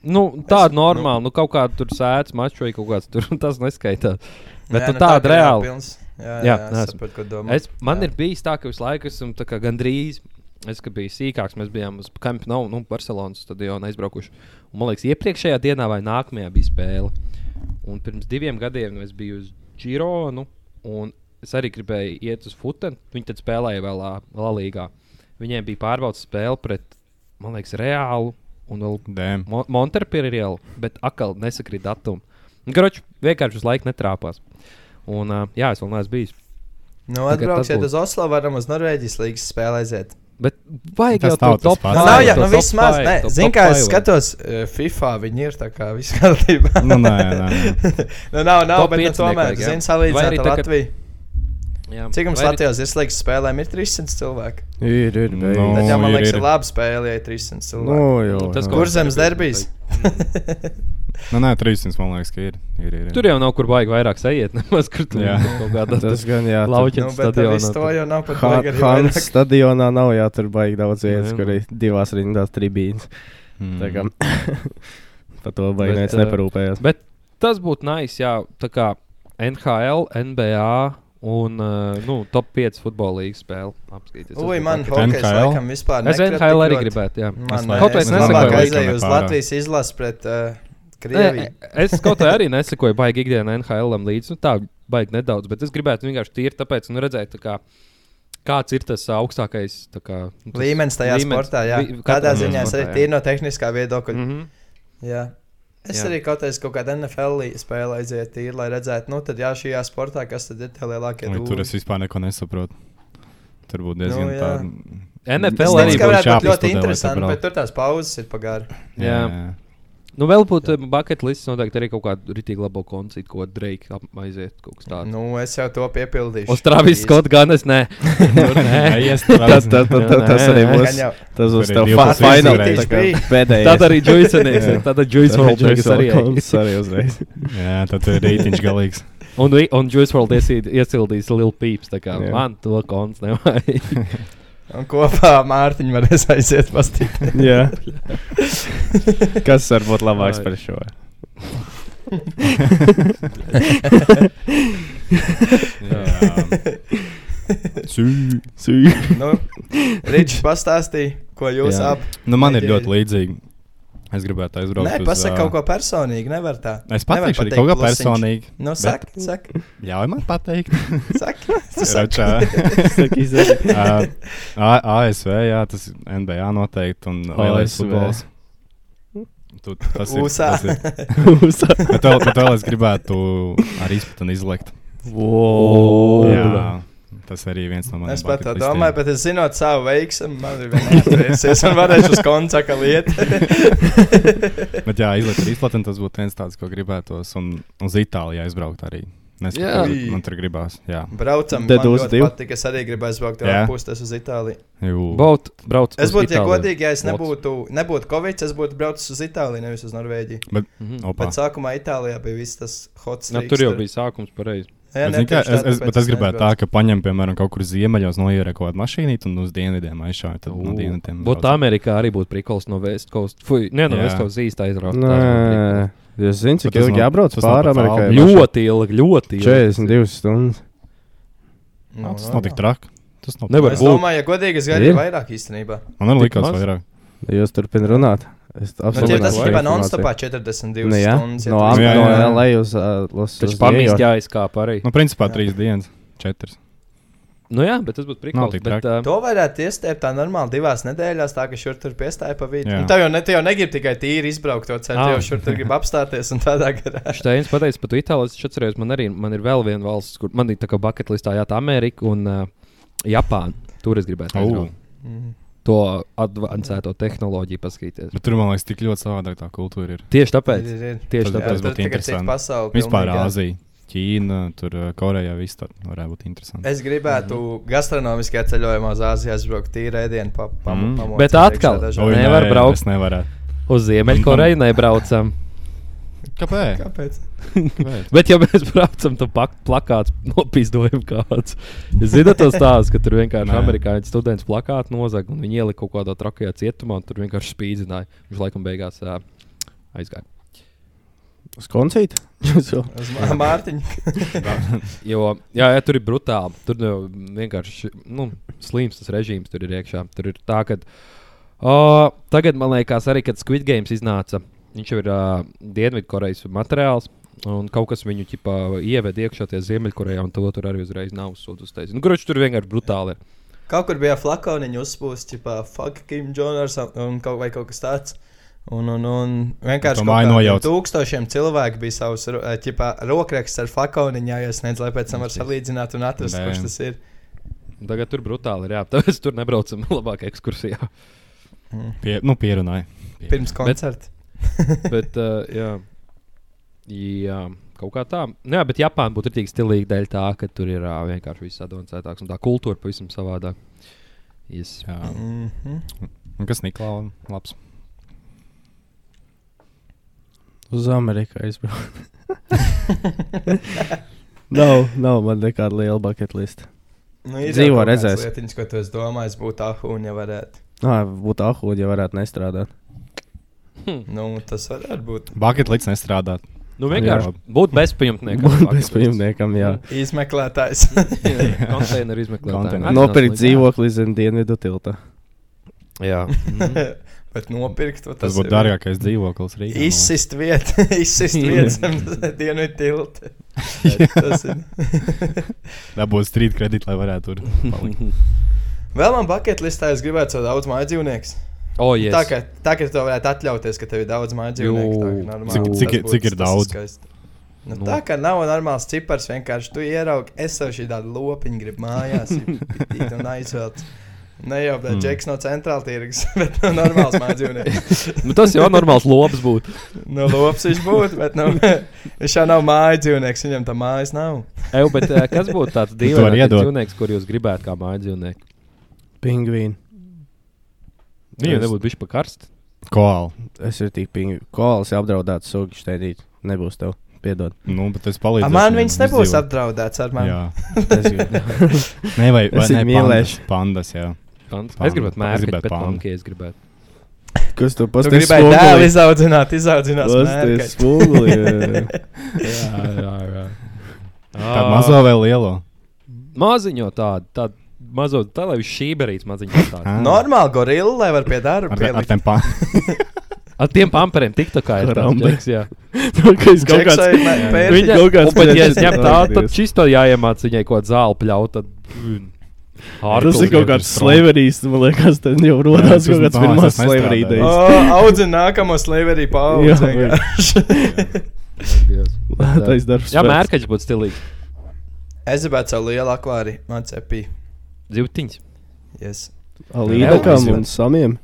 S1: nu, tāda
S5: Es-
S1: normāla, nu, kaut kāda tur sēdz mačs vai kaut kāds tur, tas neskaitās. Bet
S5: Nē,
S1: nu,
S5: nu
S1: tāda
S5: tā,
S1: reāli.
S5: Jā, pilns. jā,
S1: Jā,
S5: jā, jā
S1: neesmu.
S5: es saprotu, ko domā.
S1: Es, man jā. ir bijis tā, ka visu laiku esmu tā kā gandrīz. Es ka biju sīkāks, mēs bijām uz Camp Nou, nu, Barcelonas stadionā aizbraukuši. Un, man liekas, iepriekšējā dienā vai nākamajā bija spēle. Un pirms diviem gadiem nu, es biju uz Gironu, un es arī gribēju iet uz futbolu. Viņi tad spēlēja vēl Latvijā. Viņiem bija pārbaudas spēle pret, man liekas, Reālu un vēl
S4: Dēm.
S1: Mo- Monterpīrielu, bet atkal nesakrīt datumu. Grauds vienkārši uz laiku netrāpās. Un, uh, jā, es vēl neesmu bijis.
S5: Nu,
S1: tagad tas
S5: atbrauksiet
S1: būs.
S5: uz Oslo, varam uz Norvēģijas līgas spēlē aiziet.
S1: Bet vajag
S4: Tas
S1: jau
S4: nav
S1: tādu
S4: tas
S1: top
S4: pats.
S5: Nu,
S4: Ai,
S5: nav
S4: vai
S5: jau
S4: to
S5: nu, vismaz. Nē, zinu, kā es skatos, eh, FIFA viņi ir tā kā vispār kārtībā.
S4: Nu, nē, nē, nē.
S5: nu, nav, nav,
S1: Top
S5: bet nu,
S1: piecinieki
S5: tomēr,
S1: vajag, jā.
S5: zinu,
S1: Vai arī
S5: salīdzinot ar
S1: tagad-
S5: Latviju. Cik mums
S1: Latvijā?
S5: Latvijas ir slēgts spēlēm, ir 300 cilvēki.
S7: Ir, ir,
S4: Nu.
S7: beidz.
S5: Tad jau man
S4: ir,
S5: liekas,
S4: ir.
S5: ir laba spēle, ja ir 300
S7: Nu,
S5: cilvēki.
S7: jau,
S1: Tas,
S7: jā.
S1: ko-
S5: Kur zemes derbijas?
S4: Nu, nē, 300 man liekas, ka ir. ir, ir, ir.
S1: Tur jau nav kur baigi vairāk sajiet, nemaz kur tur
S4: Jā.
S1: kaut kādā
S7: tas gan jā. tur-
S1: lauķa
S5: Nu, bet tā viss to
S1: stadionā.
S5: jau nav pat
S7: Ha-
S5: baigi arī
S7: Hansa
S5: vairāk.
S7: stadionā nav jātur baigi daudz vietas,
S1: Jā,
S7: kur ir divās rindās tribīnes.
S4: Mm.
S7: Tā kā par to baigi
S1: Bet,
S7: neviens
S1: eh,
S7: neparūpējās.
S1: Bet tas būtu nice, jā, tā kā NHL, NBA un uh, nu, top 5 futbola līnijas spēle. Apskatīties.
S5: Ui, man
S4: būtu
S5: hokejs
S4: NHL?
S5: laikam vispār
S1: Es
S5: nekrita
S1: NHL arī
S5: ļoti.
S1: gribētu. Jā.
S5: Man
S4: vai-
S1: Kaut vai es
S5: es labāk
S1: nesakoju
S5: aizēju
S4: laikam
S5: uz
S4: nepārāk.
S5: Latvijas izlases pret eh, Krieviju.
S1: Nē, Eh, es kaut kā arī nesakoju baigi ikdienā NHL līdzi. Nu, tā baigi nedaudz, bet es gribētu vienkārši tīri tāpēc, nu, redzēt, tā kā, kāds ir tas augstākais tā kā, nu, tas
S5: Līmenis tajā
S1: līmenis.
S5: sportā, jā.
S1: Lī-
S5: Kādā
S1: katrā
S5: ziņā es
S1: sportā,
S5: arī
S1: jā.
S5: tīri Mm-hmm. no tehniskā viedokļa.
S1: Mhm.
S5: Jā. Es
S1: Jā.
S5: jā. arī kaut kādā kaut kādā NFL lī- spēlē aizēju tīri, lai redzētu, nu, tad jā, šajā sportā, kas tad ir tie lielākie
S4: Ui, Tur es
S5: dūri.
S4: vispār neko nesaprotu. Tur būtu diezgan
S5: Nu, jā.
S4: tā.
S5: Es
S1: NFL
S4: Vēl
S1: arī
S4: neskaidrs,
S5: nezinu,
S1: būs.
S5: ka
S4: būs
S5: varētu būt
S4: jāpastudē,
S5: ļoti
S4: lai
S5: interesanti,
S4: saprastu.
S5: bet tur tās pauzes ir pagāri.
S1: Jā. Nu, vēl būtu buļbuļsaktas, noteikti arī kaut kāda rītīga laba koncerta, ko Drake ap- aiziet kaut kas tāds.
S5: Nu, es jau to piepildīšu.
S1: Uz Travis
S5: Īsti.
S1: Scott gan es ne.
S4: Tur neies, tur
S7: Tas,
S1: Jā,
S7: tas, tas, tas
S1: nē,
S7: arī
S1: nē.
S7: būs.
S5: Gan jau.
S7: Tas būs
S4: Tur ir
S7: tev
S4: divas
S7: fa-
S4: uzreiz
S7: fināls.
S5: uzreiz
S7: tā kā
S5: bija.
S7: Pēdējais.
S1: Tad arī Džuisonīks.
S7: Jā.
S1: Tad Džuis Valdīgs arī. aiziet.
S7: Joyce arī uzreiz.
S4: Jā, tad tur ir rītiņš galīgs.
S1: Un, vi- un Džuis Valdīgs iesildīs Lil Peeps. tā kā
S7: Jā.
S1: Man to konts nevajag.
S5: Un kopā Mārtiņa varēs aiziet pastīt.
S7: Jā. Kas var būt labāks
S1: Ai.
S7: par šo?
S4: Jā. Cū.
S5: nu, Rīčs pastāstīja, ko jūs
S4: Jā.
S5: abi.
S4: Nu, man ir
S5: Ideja.
S4: ļoti līdzīgi. Es gribētu aizbraukt.
S5: Nē,
S4: uz,
S5: pasaka
S4: ā,
S5: kaut ko personīgi, nevar tā.
S4: Es
S5: Nevar
S4: pateikšu, arī
S5: pateikt
S4: kaut ko
S5: plusiņš.
S4: personīgi.
S5: Nu, saka, saka,
S4: Ļauj man pateikt,
S5: saka. Tu saki.
S4: Račā. Ā, A- ASV, jā, tas ir NBA noteikti. Un lielais
S7: ASV.
S4: futbols. Tu, tas ir.
S5: USA.
S4: Tas ir. Bet vēl, bet vēl es gribētu arī izpēt un izlikt.
S7: Wow.
S4: Jā, tas arī viens no maniem.
S5: Es pat tā
S4: bucket listiem.
S5: domāju, bet es zinot savu veiksmu, man ir vienkārši. Un varēšu uz koncaka lietu.
S4: Bet jā, izlikt ar izplatni tas būtu viens tāds, ko gribētos. Un uz Itāliju aizbraukt arī.
S1: Jā.
S4: Nespēju, man tur gribās. Jā,
S5: Braucam,
S7: Tad
S5: man
S7: uz
S5: ļoti
S7: divu.
S5: patīk. Es arī gribēju aizbraukt
S4: Jā.
S5: no pustes uz Itāliju.
S4: Jū.
S1: Baut, brauc.
S5: Es
S1: uz
S5: būtu, ja
S1: Itāliju.
S5: godīgi, ja es
S1: Lots.
S5: nebūtu, nebūtu Covid, es būtu braucis uz Itāliju, nevis uz Norvēģiju.
S1: Mhm.
S4: Opa.
S5: Bet sākumā Itālijā Nu, bija viss tas hots.
S1: Nu, Tur jau bija sākums pareizi.
S5: Jā,
S4: Bet,
S5: ne,
S4: zini kā,
S5: tieši
S4: es, es,
S5: tā, tāpēc
S4: bet es gribētu tā,
S5: neizbraucu.
S4: ka paņem, piemēram, kaut kur ziemeļos noierē kaut kādu mašīnu un uz dienvidiem aizšauj. Tad no dienvidiem.
S1: Būtu
S4: brauc.
S1: Amerikā arī būtu prikols no West Coast. Fui, ne, no
S4: Jā.
S1: West Coast īstā izrauta.
S7: Nē, jūs zināt,
S4: Bet
S7: cik
S4: tas nav-
S7: ilgi jābrauc
S4: tas nav
S7: pāri
S4: pat
S7: Amerikai?
S4: tālu.
S1: Ļoti ilgi, ļoti ilgi.
S7: 42 stundas.
S5: Nu,
S4: Nā, Tas
S5: nu,
S4: nav
S5: nu.
S4: tik traki. Tas nav
S1: Nevar
S5: Es
S1: būt.
S5: domāju, ja godīgi, es gaidīju
S7: Ir?
S5: vairāk īstenībā.
S4: Man arī likās
S1: maz?
S4: vairāk.
S7: Jūs turpināt runāt. Es
S5: Nu, tie
S7: absolūti
S5: tas
S7: nevaru
S5: ir
S7: informāciju.
S5: non-stopā 42
S7: Nu, jā,
S5: stundas.
S7: no
S4: tu-
S7: Am-
S4: Jā,
S7: no
S4: jā, jā.
S7: LA uz uh, Los
S1: Taču
S7: uz
S1: pamīs
S7: New York.
S1: jāizkāp arī.
S4: Nu, principā
S5: Jā.
S4: trīs dienas, četras.
S1: Nu jā, bet tas būtu
S4: Nav
S1: prikols.
S4: tik
S1: Bet,
S4: traki.
S1: um,
S5: To varētu iestēpt tā normāli divās nedēļās, tā ka šur tur piestāja pa vidu.
S4: Jā.
S5: Un Tev jau, ne, tev jau negrib tikai tīri izbraukt to ceļu,
S1: Ah.
S5: tev jau šur tur grib apstāties un tādā garā.
S1: Šteins pateica, pat Itālijā es atceros, man arī man ir vēl viena valsts, kur man ir tā kā bucketlistā jāta Amerika un uh, Japāna. Tur es gribētu
S4: Au.
S1: aizbraukt. to advancēto tehnoloģiju paskatīties.
S4: Bet tur man liekas, tik ļoti savādāk tā kultūra ir.
S1: Tieši tāpēc.
S5: Ir, ir.
S1: Tieši
S4: Tas-
S1: tāpēc.
S4: tas būtu
S5: tur tagad cita
S4: interesanti.
S5: Pasaule,
S4: Vispār
S5: pilnīgi, jā.
S4: Āzija, Ķīna, tur eh, Koreja, viss tā varētu būt interesanti.
S5: Es gribētu gastronomiskajā ceļojumā uz Āziju aizbraukt tīri ēdienu, pa, pa,
S4: Mm.
S5: pamot.
S1: Bet
S5: iekšā
S1: atkal,
S5: dažādi-
S4: Oi,
S1: nevar
S4: nē,
S1: braukt.
S4: Es nevaru.
S1: Uz Ziemeļkoreju nebraucam.
S4: Kāpēc?
S5: Kāpēc?
S4: Kāpēc?
S1: Bet, ja mēs braucam, tad pak- plakāts nopizdojam kāds. Ziniet, tas stāsts, ka tur vienkārši
S4: Nē.
S1: amerikāņu students plakātu nozaga un viņi ielika kaut kādā trakajā cietumā un tur vienkārši spīdzināja. Viņš laikam beigās uh, aizgāja.
S7: Uz koncīti? Jūs jau-
S5: Uz Mā- Mārtiņu.
S1: Jo, jā, jā, tur ir brutāli. Tur jau vienkārši nu, slims tas režīms tur ir iekšā. Tur ir tā, ka uh, tagad, man liekas, arī kad Squid Games iznāca, viņš jau ir uh, Dienvidkorejas materiāls. Un kaut kas viņu ķipā, ieved iekšā tie Ziemeļkorejā, un to tur arī uzreiz nav uzsūdzējis. Nu, Grunčs tur vienkārši brutāli ir.
S5: Kaut kur bija flakoniņa uzpūsts, tipā fuck Kim Joners un kaut, vai kaut kas tāds. Un, un, un vienkārši
S4: Un to māju
S5: kaut kādiem
S4: nojauc.
S5: tūkstošiem cilvēku bija savs ro- eh, ķipā, rokraksts ar flakoniņu jāiesniedz, lai pēc tam var salīdzināt un atrast,
S4: Bēm.
S5: kurš tas ir.
S1: Tagad tur brutāli ir. Jā, tāpēc tur nebraucam labāk ekskursijā.
S4: Pie, nu, pierunāju.
S5: Pirms koncerta.
S1: Bet, uh, jā. jā, kaut kā tā. Nu, jā, bet Japāna būtu tik stilīga dēļ tā, ka tur ir uh, vienkārši viss advancētāks un tā kultūra pavisam savādāk. Yes.
S4: Jā.
S7: Ah.
S5: Mm -hmm.
S4: Un kas Niklaus? Labs.
S7: Uz Ameriku aizbraukt. nav, nav man nekāda liela bucket list.
S5: nu,
S7: Dzīvo
S5: jau kaut kādas
S7: redzēs.
S5: Lietiņas, ko tu esi domājis, būtu ahūņa varētu.
S7: Nā, būtu ahūdi, ja varētu nestrādāt.
S5: Nu, tas varētu būt.
S4: Bucket līdz nestrādāt.
S1: Nu, vienkārši
S4: Jā.
S1: būt bezpajumtniekam.
S7: Būt bezpajumtniekam, jā.
S5: Izmeklētājs.
S1: Konteineru izmeklētājiem.
S4: Konteineru.
S1: Arī
S7: Nopirkt
S1: nav slikti.
S7: dzīvokli zem dienvidu tilta.
S1: Jā. Mhm.
S5: Bet nopirkt to
S4: Tas būtu dārgākais dzīvoklis Rīgā. man liekas.
S5: Izsist vietu, izsist vietu zem dienu tilta. Tas ir.
S4: Dabūt strīd kredīt, lai varētu tur palikt.
S1: Mhm.
S5: Vēl man buļbuļsaktas, es gribētu savu daudz māju dzīvnieku.
S1: O, Oh, yes.
S5: Yes. Tā kā tā, ka tu to varētu atļauties, ka tev ir daudz māju
S1: Jū.
S5: dzīvnieku.
S1: Cik-
S4: cik- cik ir daudz?
S5: Nu,
S1: Nu.
S5: tā kā nav normāls cipars, vienkārši tu ieraugi, es sev šī tāda lopiņa gribu mājās, ir aizvelts. Ne jau tāds
S4: Mm.
S5: Nu, džeks no centrāla tirgus, bet no normāls māju dzīvnieku.
S1: nu, tas jau normāls lobs būtu.
S5: No lops viņš būtu, bet no, viņš jau nav māju dzīvnieks, viņam tā mājas nav.
S1: Eju, bet, eh, kas būtu tāds
S4: Tu vari
S1: dīvains
S4: iedot.
S1: dzīvnieks, kur jūs gribētu kā mājas dzīvnieku?
S7: Pingvīni.
S1: Viņam
S4: Es-
S1: Nu, nebūtu bijis pa karsti.
S4: Koala.
S7: Es ir tik pingvīni. Koals ir apdraudēts sugi šteidīt. Nebūs tev. Piedod.
S4: Nu, bet es palīdzēšu.
S5: A, man
S4: viņam
S5: viņas nebūs
S4: izdzīvot.
S5: apdraudētas ar mani.
S4: Jā.
S7: Es gribu.
S4: Nē, vai, vai
S7: Es viņu
S4: ne, pandas,
S7: mīlēšu.
S4: pandas, jā.
S1: Pants.
S4: Panda.
S1: Es gribētu mērķi,
S4: gribētu
S1: bet
S4: pandu.
S1: pankī es gribētu.
S7: Kas tu
S5: Tu
S7: pastāstīji?
S5: gribēji dēlu izaudzināt, izaudzināt.
S7: Tas ir spūgli.
S1: jā, jā, jā.
S4: Tādu mazo vai lielo?
S1: Maziņo tādu, tādu mazo, tā lai viņš šīberīts maziņo tādu.
S4: Ah.
S5: Normāli gorilla, lai var pie darba
S4: Ar, te- ar
S5: pielikt.
S4: tiem pandām.
S1: Ar tiem pamperiem tik tā kā ir tāds
S7: Karambe.
S1: džeks, jā.
S7: Kaut
S5: Džeks
S7: kāds.
S5: vai mē- pērtiķis?
S7: Viņa kaut
S1: Un,
S7: kāds.
S1: bet, ja es
S7: klients-
S1: ņemtu tādu, tad
S7: Paldies.
S1: čisto jāiemāc viņai kaut ko zāli pļaut, tad... mm,
S7: Tas
S1: ārkli
S7: ir kaut
S1: vienkārši
S7: kāds
S1: strauji.
S7: slaverijas, man liekas, tad jau rodās
S4: tas
S7: kaut kāds
S4: nav,
S7: pirmās
S4: tas nestrādā.
S7: slaverijas
S5: O,
S7: idejas.
S5: audzina nākamo slaverī
S7: Jā,
S5: paudzi.
S1: Ak, Dievs. Bet,
S7: Lētais
S1: ā,
S7: darbs.
S1: Jā, mērķis būtu stilīgs.
S5: Es gribētu savu lielu akvāriju, man cepī.
S1: Zivtiņš.
S5: Yes.
S7: Līdakam
S1: Jā,
S7: un samiem.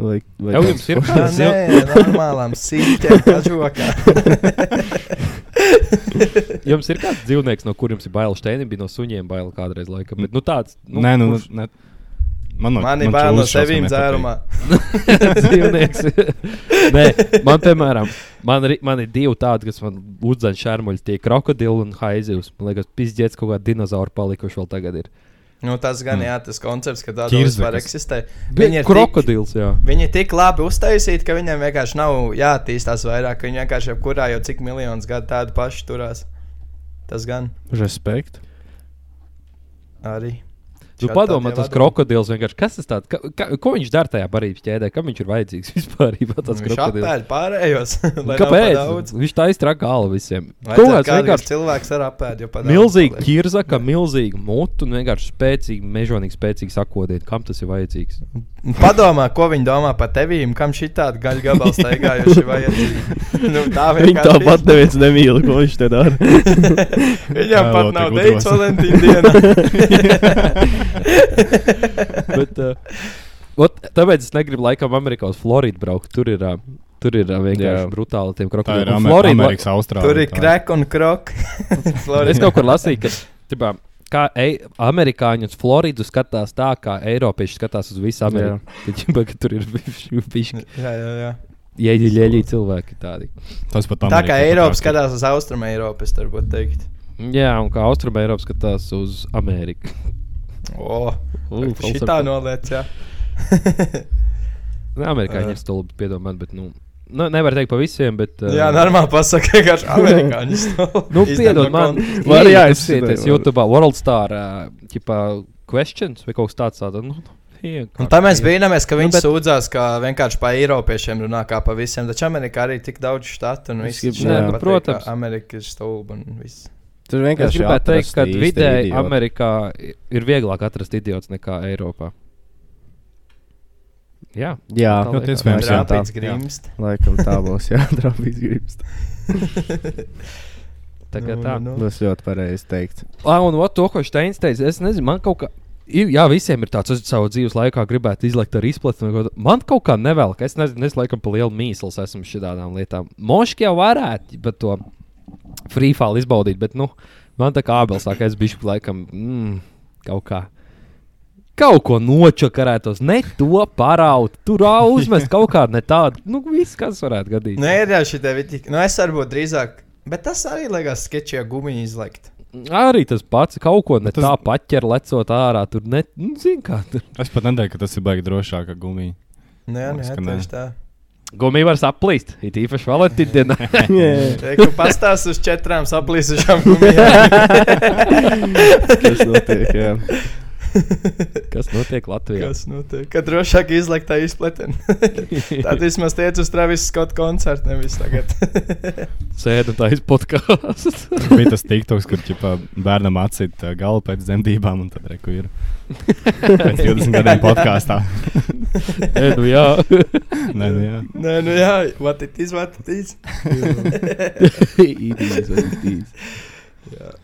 S7: Vai, vai
S1: Tev
S7: kāds-
S1: jums ir
S5: Tā
S1: kāds ziv-
S5: nē, normālām sīkām kažokām.
S1: jums ir kāds dzīvnieks, no kuriem ir bail štēni, bija no suņiem bail kādreiz laikam. Bet, nu tāds, nu,
S4: Nē, nu,
S1: kurš
S4: ne. Man no,
S5: Man ir
S4: man
S5: bail no
S4: čūlas šausmas
S5: sevīm
S4: nepatīk.
S5: dzērumā.
S1: dzīvnieks. Nē, man piemēram, Man, ri- man ir divi tādi, kas man uzdzen šermuļi, tie krokodili un haizivs. Man liekas, pizdzēts kaut kāda dinozaura palikuši vēl tagad. Ir.
S5: Nu, tas gan
S4: Mm.
S5: jā, tas koncepts, ka tāda
S4: Ķirzvekas.
S5: vispār eksistē.
S1: Bija krokodils, jā.
S5: Viņi ir tik labi uztaisīti, ka viņiem vienkārši nav jāattīstās vairāk. Viņi vienkārši jebkurā jau cik miljonus gadu tādu pašu turās. Tas gan
S7: Respekt.
S5: arī.
S1: Tu
S5: Šādi
S1: padomā,
S5: tādie
S1: tas
S5: vadumi.
S1: krokodils vienkārši. Kas tas tāds? Ka, ka, ko viņš dara tajā barības ķēdē? Kam viņš ir vajadzīgs vispār? Tas
S5: Nu, Viņš
S1: krokodils.
S5: apēda pārējos. lai nav pa
S1: Kāpēc?
S5: daudz.
S1: Viņš tā iztraka galvu visiem.
S5: Vai
S1: Kaut
S5: tad
S1: kāds
S5: kāds
S1: vienkārši
S5: cilvēks ar apēdu jau padara.
S1: milzīga kirza, ka milzīga mutu un vienkārši spēcīga, mežonīga, spēcīga sakodiet. Kam tas ir vajadzīgs?
S5: Padomā, ko viņi domā par tevīm, kam šī tāda gaļa gabala staigājuši vajadzīgi. nu, tā
S7: Viņa
S5: vienkārši
S7: tāpat
S5: ir.
S7: neviens nemīl, ko viņš te dara.
S5: Viņam
S4: Jā,
S5: pat
S4: vēl
S5: nav
S4: te
S5: teicis
S4: gudros.
S5: Valentīna dienā.
S1: Bet, uh, ot, tāpēc es negribu laikam Amerikā uz Floridu braukt. Tur ir, uh, tur ir uh, vienkārši
S7: Jā.
S1: brutāli tiem
S4: Tā ir
S1: krokodiliem. Un
S4: Amer
S1: Florida-
S4: Amerikas Austrālija.
S5: Tur ir
S4: tā.
S5: krek un krok.
S1: Es kaut kur lasīju, ka tipā, kā ei, amerikāņi uz Floridu skatās tā, kā eiropieši skatās uz visu Ameriku. Tad, ķipa, ka tur ir bijuši
S5: Jā, jā, jā.
S1: ieģeļi cilvēki tādi.
S4: Tas pat
S5: Tā kā
S4: Amerikā
S5: Eiropa
S4: patīk.
S5: skatās uz Austrum Eiropu, es varbūt teikt.
S1: Jā, un kā Austrum Eiropa skatās uz Ameriku.
S5: O,
S1: Ū,
S5: šī tā
S1: falsarka.
S5: noliec, jā.
S1: Nu, Amerikāņi
S5: Jā.
S1: ir stulbi, piedomājiet, bet nu, nu, nevar teikt par visiem. Bet, uh,
S5: jā, normāli pasaka, vienkārši amerikāņus.
S1: Nu, piedod man,
S7: Var
S1: tas
S7: jāizsver,
S1: ir
S7: var.
S1: YouTube, World Star, eh, tipā questions vai kaut kas tāds. Tāda, nu, vienkārši.
S5: Un tā mēs brīnāmies, ka viņi
S1: bet-
S5: bet... sūdzās, ka vienkārši par Eiropiešiem runā kā par visiem. Taču Amerikā arī ir tik daudz štatu un
S7: Es
S5: viss.
S7: gribu-
S5: taču
S7: Nē,
S5: nevar
S1: nu,
S5: pateikt,
S1: protams.
S5: ka Amerika ir stulba un viss.
S7: Tur
S1: Es
S7: vienkārši
S1: gribētu teikt,
S7: atrast
S1: ka
S7: īsti
S1: vidēji
S7: idioti.
S1: Amerikā i- ir vieglāk atrast idiotus nekā Eiropā. Jā,
S7: Jā,
S1: tā
S4: nu,
S1: liekas.
S4: tas vienmēr
S7: jā, tā.
S5: Rāpīts grimst.
S7: laikam tā būs. Jā, drāmas gribas.
S1: tā kā
S5: Nu,
S1: tā.
S5: nu, nu.
S7: Tas ļoti pareizi teikt.
S1: Ah, un ot, to, ko Steins teica, es nezinu, man kaut kā. Ir, jā, visiem ir tāds, es savā dzīves laikā gribētu izlikt ar izplatni. vai kaut ko tā- Man kaut kā nevēl, ka es nezinu, es laikam pa lielu mīslu esmu šādām lietām. Moški jau varētu bet to frīfālu izbaudīt, bet nu, man tā kā abels sāk, es bišķi laikam mm, kaut kā. Kaut ko nočakarētos, ne to paraut, tur ā, uzmest kaut kādu ne tādu. Nu, viss, kas varētu gadīties.
S5: Nē, ir jau šī te vitika. Nu, es varbūt drīzāk. Bet tas arī liekas sketčijā gumiņu izlikt.
S1: Arī tas pats, kaut ko ne tas...
S4: Tas-
S1: tā paķer, lecot ārā. Tur ne, nu, zin kā tur.
S4: Es pat nedomāju, ka tas ir baigi drošāk kā gumija.
S5: Nē, nē,
S4: Liekas, ka nē.
S5: tieši tā.
S1: Gumija var saplīst, it īpaši valentīna dienā.
S5: Teiktu, nu, pastāst uz četrām saplīsušām gumijām.
S7: Tas notiek. Jā.
S1: Kas notiek Latvijā?
S5: Kas notiek? Kad drošāk izlikt tā izpletne. Tad vismaz tiec uz Travis Scott koncertu, nevis tagad.
S1: Sēdi un tā izpodkāsts.
S4: Tur bija tas tiktoks, kur ķipā, bērnam atsita galva pēc dzemdībām, un tad reku ir. Pēc 20 gadiem podkāstā.
S1: Nē, nu jā.
S4: Nē, nu, jā.
S5: Nē, nu jā, what it is, what it is.
S1: Īdīgs, īdīgs.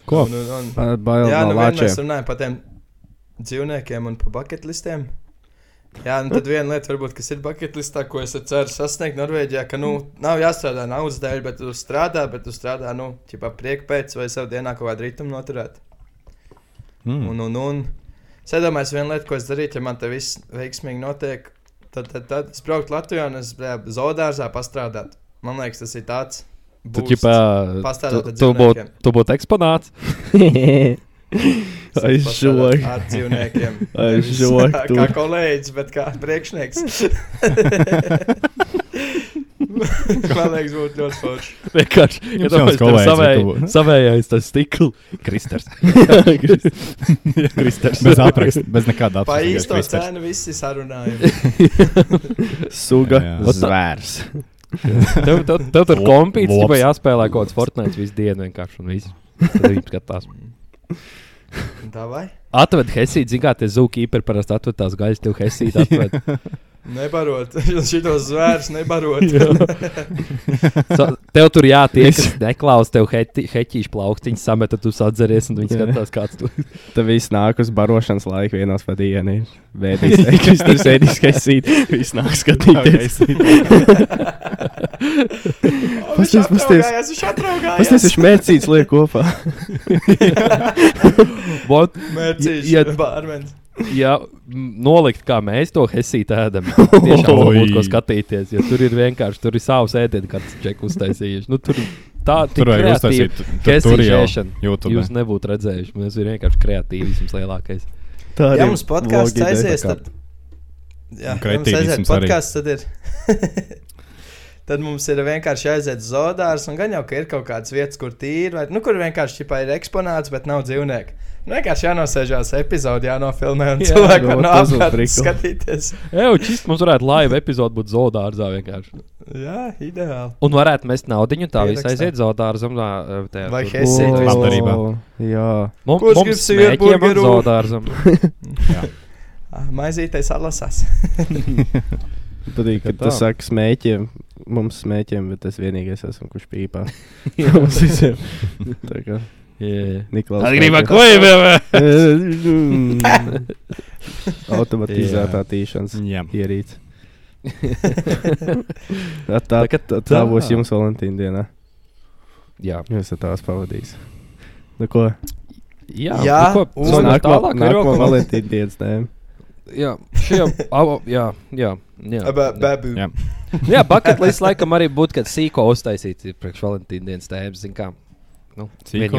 S4: Ko?
S5: Un, Nu, un, un.
S7: Ar bail
S5: Jā,
S7: no
S5: nu vienmēr mēs
S7: lāčiem.
S5: runājam par tiem dzīvniekiem un par bucketlistiem. Jā, nu tad viena lieta, varbūt, kas ir bucketlistā, ko es ceru sasniegt Norvēģijā, ka, nu, nav jāstrādā naudas dēļ, bet tu strādā, bet tu strādā, nu, ķipā prieku pēc vai savu dienā kaut kādu ritumu noturēt.
S4: Mm.
S1: Hmm.
S5: Un, un, un. Es domāju, viena lieta, ko es darītu, ja man te viss veiksmīgi notiek, tad, tad, tad es brauktu Latvijā un es brā, zoodārzā pastrādāt. Man liekas, tas ir tāds.
S1: Tu
S5: boosts.
S1: ķipā, tu,
S5: Pastāvēt ar
S1: tu būtu
S5: dzīvniekiem.
S1: tu būt eksponāts.
S5: Es
S7: Aiz
S5: pastrādātu
S7: žoga.
S5: Ar dzīvniekiem.
S7: Aiz
S5: Nevis
S7: žoga
S5: kā-
S7: tur.
S5: Kā kolēģis, bet kā priekšnieks. man liekas, būtu ļoti forši.
S1: Vienkārši.
S4: Jums
S1: Ja domāju,
S4: jauns kolēģis, vai tu-
S1: savēj, savējais tas stikls. Kristers. Kristers.
S4: Bez apraksta, bez nekāda
S5: Pa
S4: apraksta.
S5: īsto
S4: vienkārši
S5: cenu visi sarunājumi.
S7: Suga
S4: Jā.
S7: zvērs.
S1: Tev, tev, tev tur
S4: Lo-
S1: kompīts,
S4: lops.
S1: vai jāspēlē kaut kāds Fortnite visu dienu vienkārši un viss. Tad viņi skatās.
S5: Tā vai?
S1: Atved Hesiju, zini, kā tie zūkīperi parasti atved tās gaļas, tev Hesiju atved.
S5: Nebarot. Šitos zvērs nebarot.
S1: Sa- Tev tur jātiek, kas neklausās, tev heti- heķīšu plauktiņš samet, tad tu sadzeries un viņi
S7: Jā.
S1: skatās, kāds tu
S7: Tad viss nāk uz barošanas laiku vienos pa dienu. ir. Vēdīs, Kristers ēdīs, ka esīt. Viss nāk skatīties. Pasties, pasties.
S5: Es esmu atraugājis.
S7: Pasties, viņš mērcīts liek kopā.
S1: What?
S5: Mērķis,
S1: Ja-
S5: ja bārmenis.
S1: ja m, nolikt, kā mēs to hesītu ēdam, tad tiešām
S4: Oi.
S1: būtu ko skatīties. Jo tur ir vienkārši tur ir savs ēdienkartes čeku uztaisījuši. Nu, tur tā tik
S4: Tur vajag
S1: kreatīva
S4: uztaisīt. Tur, tur
S1: hesīšu
S4: jau
S1: ēšana.
S4: YouTube.
S1: Jūs nebūtu redzējuši, mums ir vienkārši kreatīvisms lielākais.
S7: Tā
S5: Ja mums podkāsts aizies, tad. Jā, ja mums aiziet
S4: Kretīvisms arī.
S5: podkāsts, tad ir. tad mums ir vienkārši jāaiziet uz zodārs, un gan jau ka ir kaut kādas vietas, kur tīri, vai nu, kur vienkārši ķipā ir eksponāts, bet nav dzīvnieku. Nu, vienkārši jānosēžās epizodē, jānofilmē, un
S1: Jā,
S5: cilvēkam
S7: no,
S5: no, nav
S7: tas būtu
S5: apgādājums
S7: prikli.
S5: skatīties.
S1: Jā, čist mums varētu laiva epizode būt zoodārzā vienkārši.
S5: Jā, ideāli.
S1: Un varētu mest naudiņu, tā viss
S5: Ierakstā.
S1: aiziet zoodārzam.
S5: Vai
S1: Mums,
S5: hesīt vispār.
S4: Labdarībā.
S7: Jā,
S5: Kurš grib
S1: mums
S5: sievieti
S1: smēķiem un
S5: burgeru?
S1: zoodārzam.
S5: Ah, Maizītais atlasās.
S7: man
S1: Kā
S7: patīk, ka tu
S1: tā?
S7: saki smēķiem. Mums smēķiem, bet es vienīgais esmu, kurš pīpā. Mums visiem. Tā kā
S1: Jā, jā.
S7: Niklaus.
S4: Atgrībā
S7: smēķē.
S4: klājumiem!
S7: Mm. Automatizētā tīšanas
S4: Jā. Mm.
S7: ierīce. tā, tā,
S1: Tā kā
S7: tā, tā
S1: tā.
S7: būs jums Valentīna dienā.
S1: Jā,
S7: Jūs esat tās pavadījis. Nu, ko?
S1: jā.
S5: Jā,
S1: nu ko,
S5: un-
S1: zonā
S7: nākamā
S1: tālāk ir
S7: nākamā
S1: rokas?
S7: Valentīna dienas tēma.
S1: Jā, šiem, avo, jā, jā, jā.
S5: Babu.
S4: Jā.
S1: jā paketlis laikam arī būtu, kad sīko uztaisīts ir priekš Valentīna dienas tēmas, zin kā. Nu,
S4: Sīko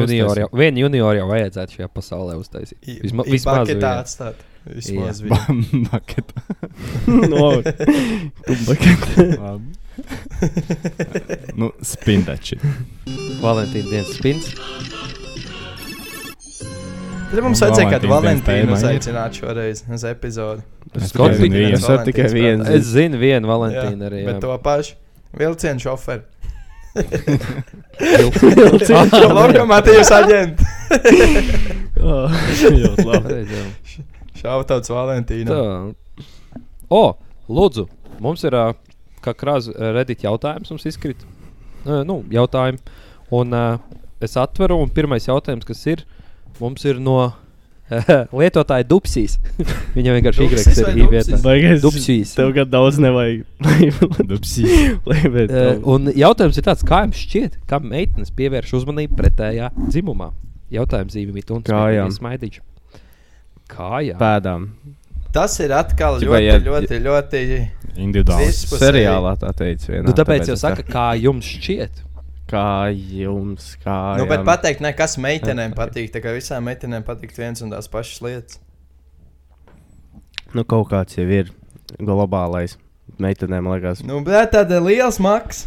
S1: vienu junioru, jau,
S4: uztaisīt?
S1: vien junioru jau vajadzētu šajā pasaulē uztaisīt. Visma, vismaz
S5: tā
S1: vienu.
S5: atstāt. Vismaz vienu.
S4: Maketa.
S7: no,
S4: Labi. nu, spindači.
S1: Valentīna dienas spins.
S5: Tad mums
S4: Un
S5: vajadzēja kādu
S4: Valentīnas dienas
S5: Valentīnu
S4: tēma ir.
S5: uzaicināt šoreiz uz epizodi.
S4: Es
S1: kaut
S4: tikai
S1: kādā
S4: zinu
S7: Es
S4: vienu.
S7: varu tikai vienu.
S5: Valentīns
S1: Es zinu vienu
S5: Jā,
S1: Valentīnu arī.
S5: Bet to pašu vilcienu šoferi.
S1: Vilcienu
S5: Lokomotīvas aģents.
S7: Ļoti labi.
S1: šoferi.
S5: Šautauts Valentīna.
S1: Tā. O, lūdzu, mums ir ā, kā krāsa redīt jautājums, mums izkrīt. Ā, Nu, jautājumi. Un ā, es atveru, un pirmais jautājums, kas ir, mums ir no lietotāja dupsīs. Viņam vienkārši ir
S5: Dupsis vai
S1: īrēks, ir īvietā.
S5: dupsis?
S7: Baigais.
S1: Dupsīs.
S7: Tev gan daudz nevajag.
S4: Nu, Dupsi.
S7: Lai
S1: Ā, Un jautājums ir tāds, kā jums šķiet, kam meitenes pievērš uzmanību pretējā dzimumā? Jautājums zīmīgi, un
S7: Kājām.
S1: smaidīšu. Kā jā?
S7: pēdām.
S5: Tas ir atkal
S7: Ķipā,
S5: ļoti,
S7: ja-
S5: ļoti, ļoti.
S4: Individuāli.
S5: Vispusēji.
S7: Seriālā tā teica. Vienā,
S1: Nu, tāpēc jau saka, kā jums šķiet.
S7: kā jums, kā.
S5: Nu, bet
S7: jām.
S5: pateikt, ne, kas meitenēm patīk. Tā kā visām meitenēm patīk viens un tās pašas lietas.
S7: Nu, kaut kāds jau ir globālais. Meitenēm liekas,
S5: Nu, bet tāda liela maks.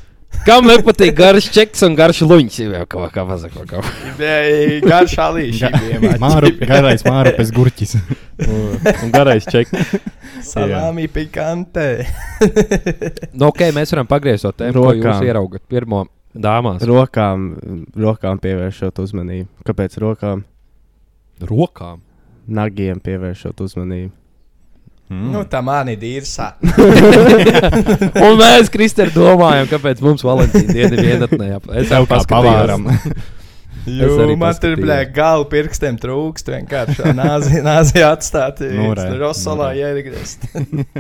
S1: Kam nepatīk garš čeks un garš luņš? Jā, kā kā mazāk. kaut kā.
S5: Garš alīši.
S4: Māru, garais māru pēc gurķis.
S1: Un garais čeks.
S5: Salāmī pikante.
S1: Nu, ok, mēs varam pagriezt to tēmu, ko jūs
S7: Rokām.
S1: ieraugat pirmo dāmās.
S7: rokām, rokām pievēršot uzmanību. Kāpēc rokām?
S1: Rokām.
S7: Nagiem pievēršot uzmanību.
S4: Mm.
S5: Nu, tā mani dīrsā.
S1: Un mēs, Kristē, domājam, kāpēc mums Valentīna diena ir vienatnē. jāp- Es
S4: Tev
S1: jau
S4: kā
S1: paskatījos.
S4: pavāram.
S5: Jū,
S1: arī
S5: man tur
S1: paskatījos.
S5: bija gala pirkstiem trūkst. Vienkārši nāzi, nāzi atstāt.
S4: Nu, re,
S5: Rosalā
S4: nu,
S5: ierigriezt.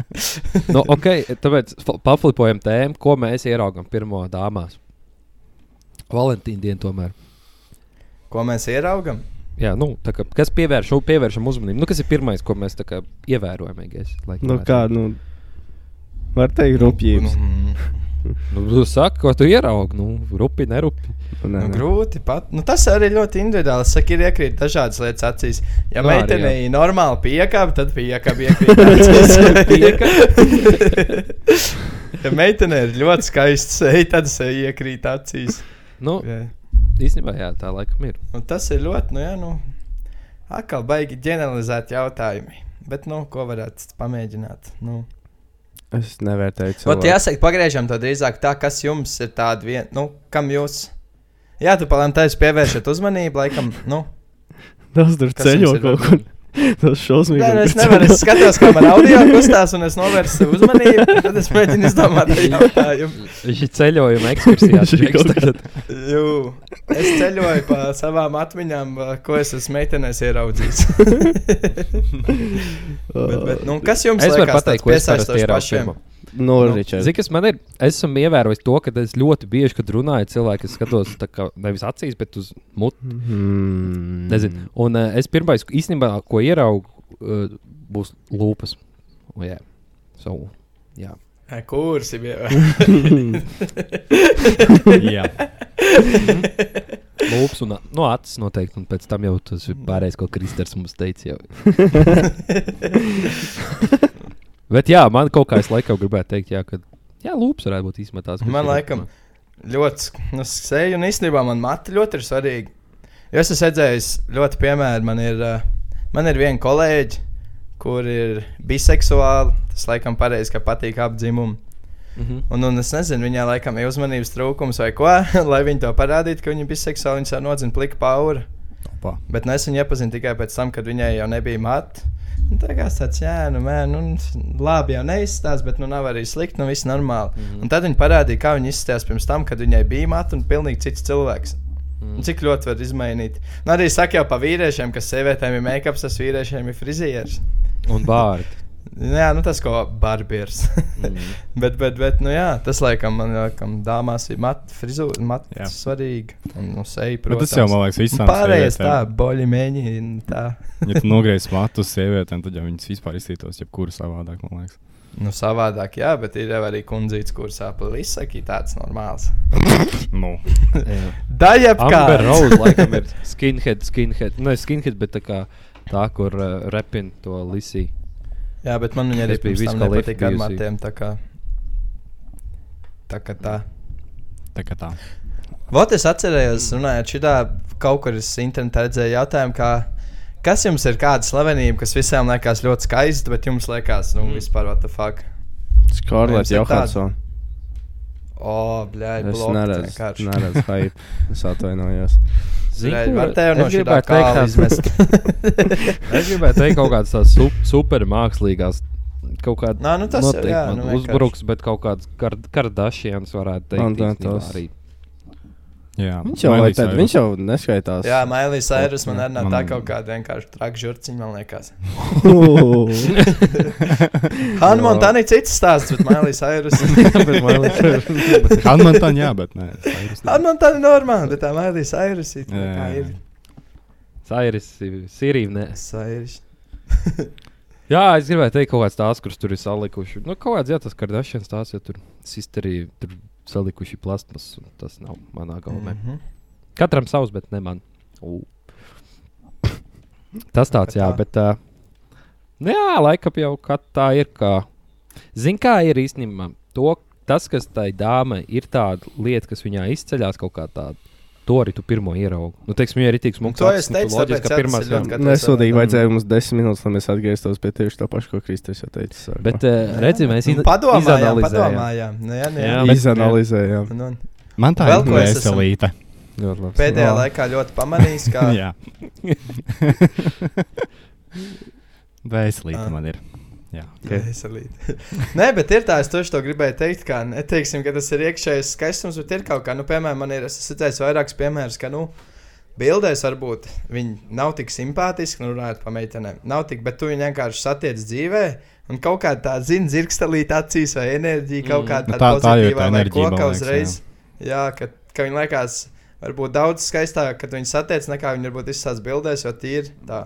S1: Nu, ok, tāpēc fa- paflipojam tēmu, ko mēs ieraugam pirmo dāmās. Valentīna diena tomēr.
S5: Ko mēs ieraugam?
S1: Jā, nu, tā kā, kas pievērš, pievēršam uzmanību? Nu, kas ir pirmais, ko mēs tā kā ievērojam?
S7: Nu, kā, nu, var teikt, rupjības.
S5: Nu,
S1: Nu, tu saki, ko tu ieraugi? Nu, rupi, nerupi.
S7: Nē,
S5: Nu,
S7: nē.
S5: grūti pat. Nu, tas arī ļoti individuāli. Es saku, ir iekrīt dažādas lietas acīs. Ja
S1: Nu,
S5: no,
S1: arī,
S5: meitene
S1: jā.
S5: ir normāli piekāpta, tad piekāpta iekrīt acīs. ja meitene ir ļoti skaista seja, tad seja iekrīt acīs.
S1: Nu,
S5: Jā.
S1: īstenībā, jā, tā laikam ir.
S5: Un tas ir ļoti, nu, jā, nu, atkal baigi ģeneralizēti jautājumi. Bet, nu, ko varētu pamēģināt? Nu.
S7: Es nevērtēju to.
S5: Pat jāsaka, pagriežam to drīzāk tā, kas jums ir tāda viena, nu, kam jūs. Jā, tu palēm taisa pievēršat uzmanību, laikam, nu.
S7: tas tur
S5: Kas
S7: ceļo
S5: jums ir
S7: kaut kur. Tas šausmīgi.
S5: Nē, nu, es
S7: kur
S5: nevaru.
S7: ceļo.
S5: Es skatos, kā man audio kustās, un es novērsu sev uzmanību. un Tad es mēģinu izdomāt šo jautājumu.
S1: Šī ceļojuma ekskursija
S7: Šī kaut
S1: ir tagad.
S5: Jū, es ceļoju pa savām atmiņām, ā, ko es esmu meitenēs ieraudzījis. bet, bet, nu, kas jums
S1: Es varu
S5: liekas
S1: pateikt, ko es parasti
S5: tāds piesaistošs
S1: ieraugu.
S5: pašiem?
S1: pirmo.
S7: Nu,
S1: Nu,
S7: Ričard,
S1: Zini, kas man ir? Es esmu ievērojis to, ka es ļoti bieži, kad runāju, cilvēki es skatos tā kā nevis acīs, bet uz muti.
S7: Mm.
S1: Nezinu. Un uh, es pirmais, eh, īstenībā, ko ieraugu, uh, būs lūpas. Oh, yeah. so, yeah.
S5: Ai, Kursi bija.
S4: Jā,
S1: Lūpas un no acis noteikti, un pēc tam jau tas ir pārējais, ko Kristers mums teica. Jau. Bet jā, man kaut kā es laikam gribētu teikt, jā, ka jā, lūpas varētu būt īstenībā tās. kas
S5: Man
S1: ir-
S5: laikam ļoti sk- nu, sēju, un īstenībā man mati ļoti ir svarīgi. Jo Es esmu redzējis ļoti piemēru. Man ir, ā, man ir viena kolēģe, kur ir biseksuāla. Tas laikam pareizi, ka patīk apdzimumu.
S1: Mhm.
S5: Un, un es nezinu, viņai laikam ir uzmanības trūkums vai ko, lai viņa to parādītu, ka viņa ir biseksuāla. Viņa jau nodzina pliku pauru.
S4: Opa.
S5: Bet nu, es viņu iepazinu tikai pēc tam, kad viņai jau nebija mati. Un Tā kā es teicu, jā, nu, man, nu, labi, jau neizstāsta, bet, nu, nav arī slikti, nu, viss normāli. Mm -hmm. Un tad viņi parādīja, kā viņi izstāsta pirms tam, kad viņai bija mati un pilnīgi cits cilvēks.
S1: Mhm.
S5: Mm. Un cik ļoti var izmainīt. Nu, arī saka jau par vīriešiem, ka sievietēm ir make-up, tas vīriešiem ir frizieris.
S1: Un bārti.
S5: Jā, nu tas ko barbiers. mm. bet, bet, bet, nu jā, tas laikam man laikam dāmās ir mat, frizūra, mat
S4: Jā.
S5: svarīgi. Un, nu, seja,
S4: Bet
S5: protams.
S4: tas jau, man liekas, visām
S5: Pārējais tā,
S4: sievietēm.
S5: boļi mēģina tā.
S4: Ja tu nogriezīs matus sievietēm, tad jau viņas vispār izskatītos jebkuru savādāk, man liekas.
S5: Nu, savādāk, jā, bet ir jau arī kundzīts, kurš aplis, saka, tāds normāls.
S4: Nu,
S5: Daļai
S1: Amber Rose laikam ir skinhead, skinhead. Ne skinhead, bet tā kā tā, kur uh, repina to lisī.
S5: Jā, bet man viņa arī
S1: Tas bija
S5: pirms tam
S1: visu kalifs
S5: nepatika ar
S1: bijusi.
S5: matiem. Tā kā tā. Kā tā.
S4: tā kā tā.
S5: Vot es atcerējos, runājot šitā, kaut kur es internetā redzēju jautājumu, kā, kas jums ir kāda slavenība, kas visiem liekas ļoti skaista, bet jums liekas,
S1: Mm.
S5: nu, vispār, what the fuck. Jums
S7: Skarlets
S5: ir tāda?
S7: Johansson.
S5: O, bļai,
S7: Es
S5: blokķis.
S7: neredzu, neredzu hype. Es atvainojos.
S5: Zinu, var tevi no
S1: es
S5: šī tā
S1: gribētu
S5: kā
S1: teikt, tās-
S5: izmest.
S1: Es gribēju teikt, kaut kādas tādas su supermākslīgās. Kaut kāda
S5: Nā, nu tas jau,
S1: noteikti
S5: jā,
S1: man
S5: nu vienkārši.
S1: uzbruks, bet kaut kādas kardašienas varētu
S7: Man
S1: teikt.
S7: tā
S1: īstenībā
S7: tas-
S1: arī.
S4: Jā,
S7: Viņš jau,
S4: Miley
S7: tad,
S4: Cyrus.
S7: viņš jau neskaitās.
S5: Jā, Mailijas Airus man arī nav tā
S4: Man-
S5: kaut kāda vienkārši traka žurciņa, man liekas.
S7: man
S5: Hanna Montāna ir cits stāsts, bet Mailijas Airus.
S1: Bet man liekas,
S4: Han man tā, jā, bet nē. Cyrus nē.
S5: Hanna Montāna ir normāla, bet tā Mailijas Airus ir. tā
S4: Jā,
S5: kā
S4: jā,
S5: ir.
S1: Sairis, Sirīna. nē.
S5: Cyrus.
S1: Jā, es gribēju teikt, kaut kāds tās, kurus tur ir salikuši. Nu, kaut kāds, jā, tas kardašienas tās, ja tur sisterī tur salikuši plasmas, un tas nav manā galvā.
S5: Mhm.
S1: Katram savs, bet ne man. Ū. Tas tāds, jā,
S5: tā.
S1: bet. Uh, nu jā, laikam jau kā tā ir. Kā... Zini, kā ir īstenībā to, tas, kas tai dāmai ir tāda lieta, kas viņā izceļas kaut kā tāda. To arī tu pirmo ieraugi. Nu, teiksim, viņa ir tik
S5: Nu,
S1: smuka.
S5: to es teicu, tāpēc, jā,
S1: ka
S5: tas
S1: pirmā
S5: ir ļoti
S1: sezona.
S5: katrs
S7: Nesodīgi
S5: savādāk.
S7: vajadzēja mums desmit minūtes, lai mēs atgrieztos pie tieši tā paša, ko Kristers jau teica. sākumā.
S1: Bet, uh, redziet, mēs
S5: Nu,
S1: iz-
S5: Padomājām,
S1: izanalizējām.
S5: padomājām. Nu, jā, nu, jā.
S1: Jā, bet-
S7: izanalizējām.
S5: Un, un
S4: Man tā
S5: Vēl
S4: ir
S5: ko es esmu-
S4: veselīte.
S1: Ļoti labi. Nu,
S5: Pēdējā
S7: Jā.
S5: laikā ļoti pamanījis, ka
S4: Jā. Veselīte
S5: Ah.
S4: man ir. Jā.
S5: Veselīte. Nē, bet ir tā, es tieši to gribēju teikt, ka, neteiksim, ka tas ir iekšējais skaistums, bet ir kaut kā, nu, piemēram, man ir, es esmu redzējis vairākus piemērus, ka, nu, bildēs varbūt viņi nav tik simpātiski, nu, runājot par meitenēm, nav tik, bet tu viņu vienkārši satiec dzīvē, un kaut kā tā, zini, dzirkstelīt acīs vai enerģija, kaut kā
S4: Nu, tā-
S5: tāda
S4: tā jau ir
S5: pozitīvā
S4: tā
S5: vai
S4: enerģija, man
S5: koka
S4: liekas,
S5: uzreiz. Jā, ka, ka viņi liekas, varbūt daudz skaistāk, kad viņi satiec, nekā viņi varbūt izsāc bildēs, jo tīri tā.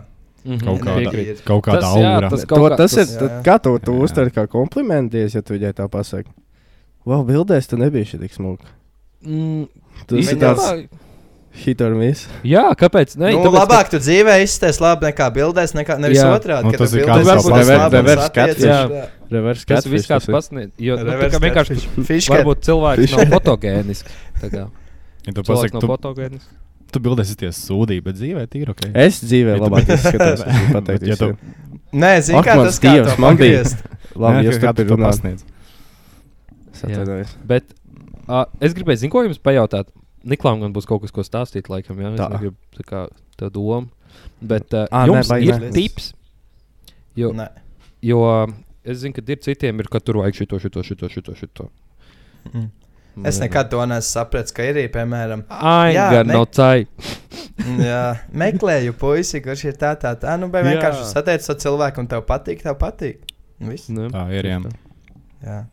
S1: mhm,
S4: Kaut
S5: kāda-
S4: kāda,
S5: Piekrīt.
S4: kaut kāda
S1: Tas, jā,
S4: aura.
S1: tas-
S7: To,
S1: kaut kā-
S7: tas ir.
S5: tas-
S7: tad
S5: jā, jā.
S7: Kā tu to
S4: Jā, jā.
S7: uztver kā komplimenties, ja tu viņai tā pasaki? Wow, bildēs tu nebija šī tik smuka.
S1: Mm,
S7: Tas ir
S5: Viņa-
S7: tāds hit or miss.
S1: Jā, kāpēc? Nē,
S5: Ei, nu,
S1: tāpēc, ka-
S5: labāk tu dzīvē izsties labi nekā bildēs, nekā nevis
S1: Jā.
S5: otrādi.
S4: Nu,
S5: ka
S4: tas
S5: tu
S4: ir
S5: bildēs
S4: kāds
S5: būsi
S4: labs-
S5: labs,
S7: reverse
S5: labs
S7: catfish.
S1: Jā.
S5: attiecības. Jā.
S1: Tas
S7: Reverse catfish
S1: viss kāds pasniedz. Jo nu, tā
S5: Reverse
S1: kā vienkārši
S5: catfish.
S1: varbūt cilvēks nav
S7: Fišket.
S1: fotogēnisks. tā kā.
S4: Ja tu
S1: Cilvēks
S4: pasaki,
S1: nav
S4: tu,
S1: fotogēnisks.
S4: tu bildēsies sūdī, bet dzīvē ir ok.
S7: Es dzīvē
S4: Ja tu-
S7: labāk izskatos. es gribu
S4: Bet
S7: pateikt
S4: ja tu-
S7: visiem.
S5: Nē, zini,
S7: Ak,
S5: kā
S7: mans
S5: tas kā
S7: Dievs,
S5: to
S7: man bija.
S5: pagriezt.
S7: Labi, jūs
S4: kāpēc tu
S7: turpināt.
S4: pasniedz?
S7: Es atvainojos.
S1: Bet uh, es gribēju, zinu, ko jums pajautāt. Niklaus, man būs kaut kas, ko stāstīt, laikam, jā,
S7: Tā.
S1: tā. negribu tā kā tā doma. Bet uh,
S7: Ā,
S1: à, jums
S7: nē,
S1: ne,
S7: baigi,
S1: ir
S7: nē.
S1: ne. tips, jo,
S5: Nē.
S1: jo uh, es zinu, ka ir citiem, ir, ka tur vajag šito, šito, šito, šito. šito.
S5: Mm. Es nekad to neesmu sapratis, ka ir arī, piemēram, Jā,
S1: Aingar
S5: ne-
S1: no cai.
S5: jā, meklēju puisi, kurš ir tā, tā, tā, nu, vai
S1: Jā.
S5: vienkārši satiekas ar cilvēku un tev patīk, tev patīk. Un viss.
S1: Ne?
S4: Tā ir, jā.
S5: Jā.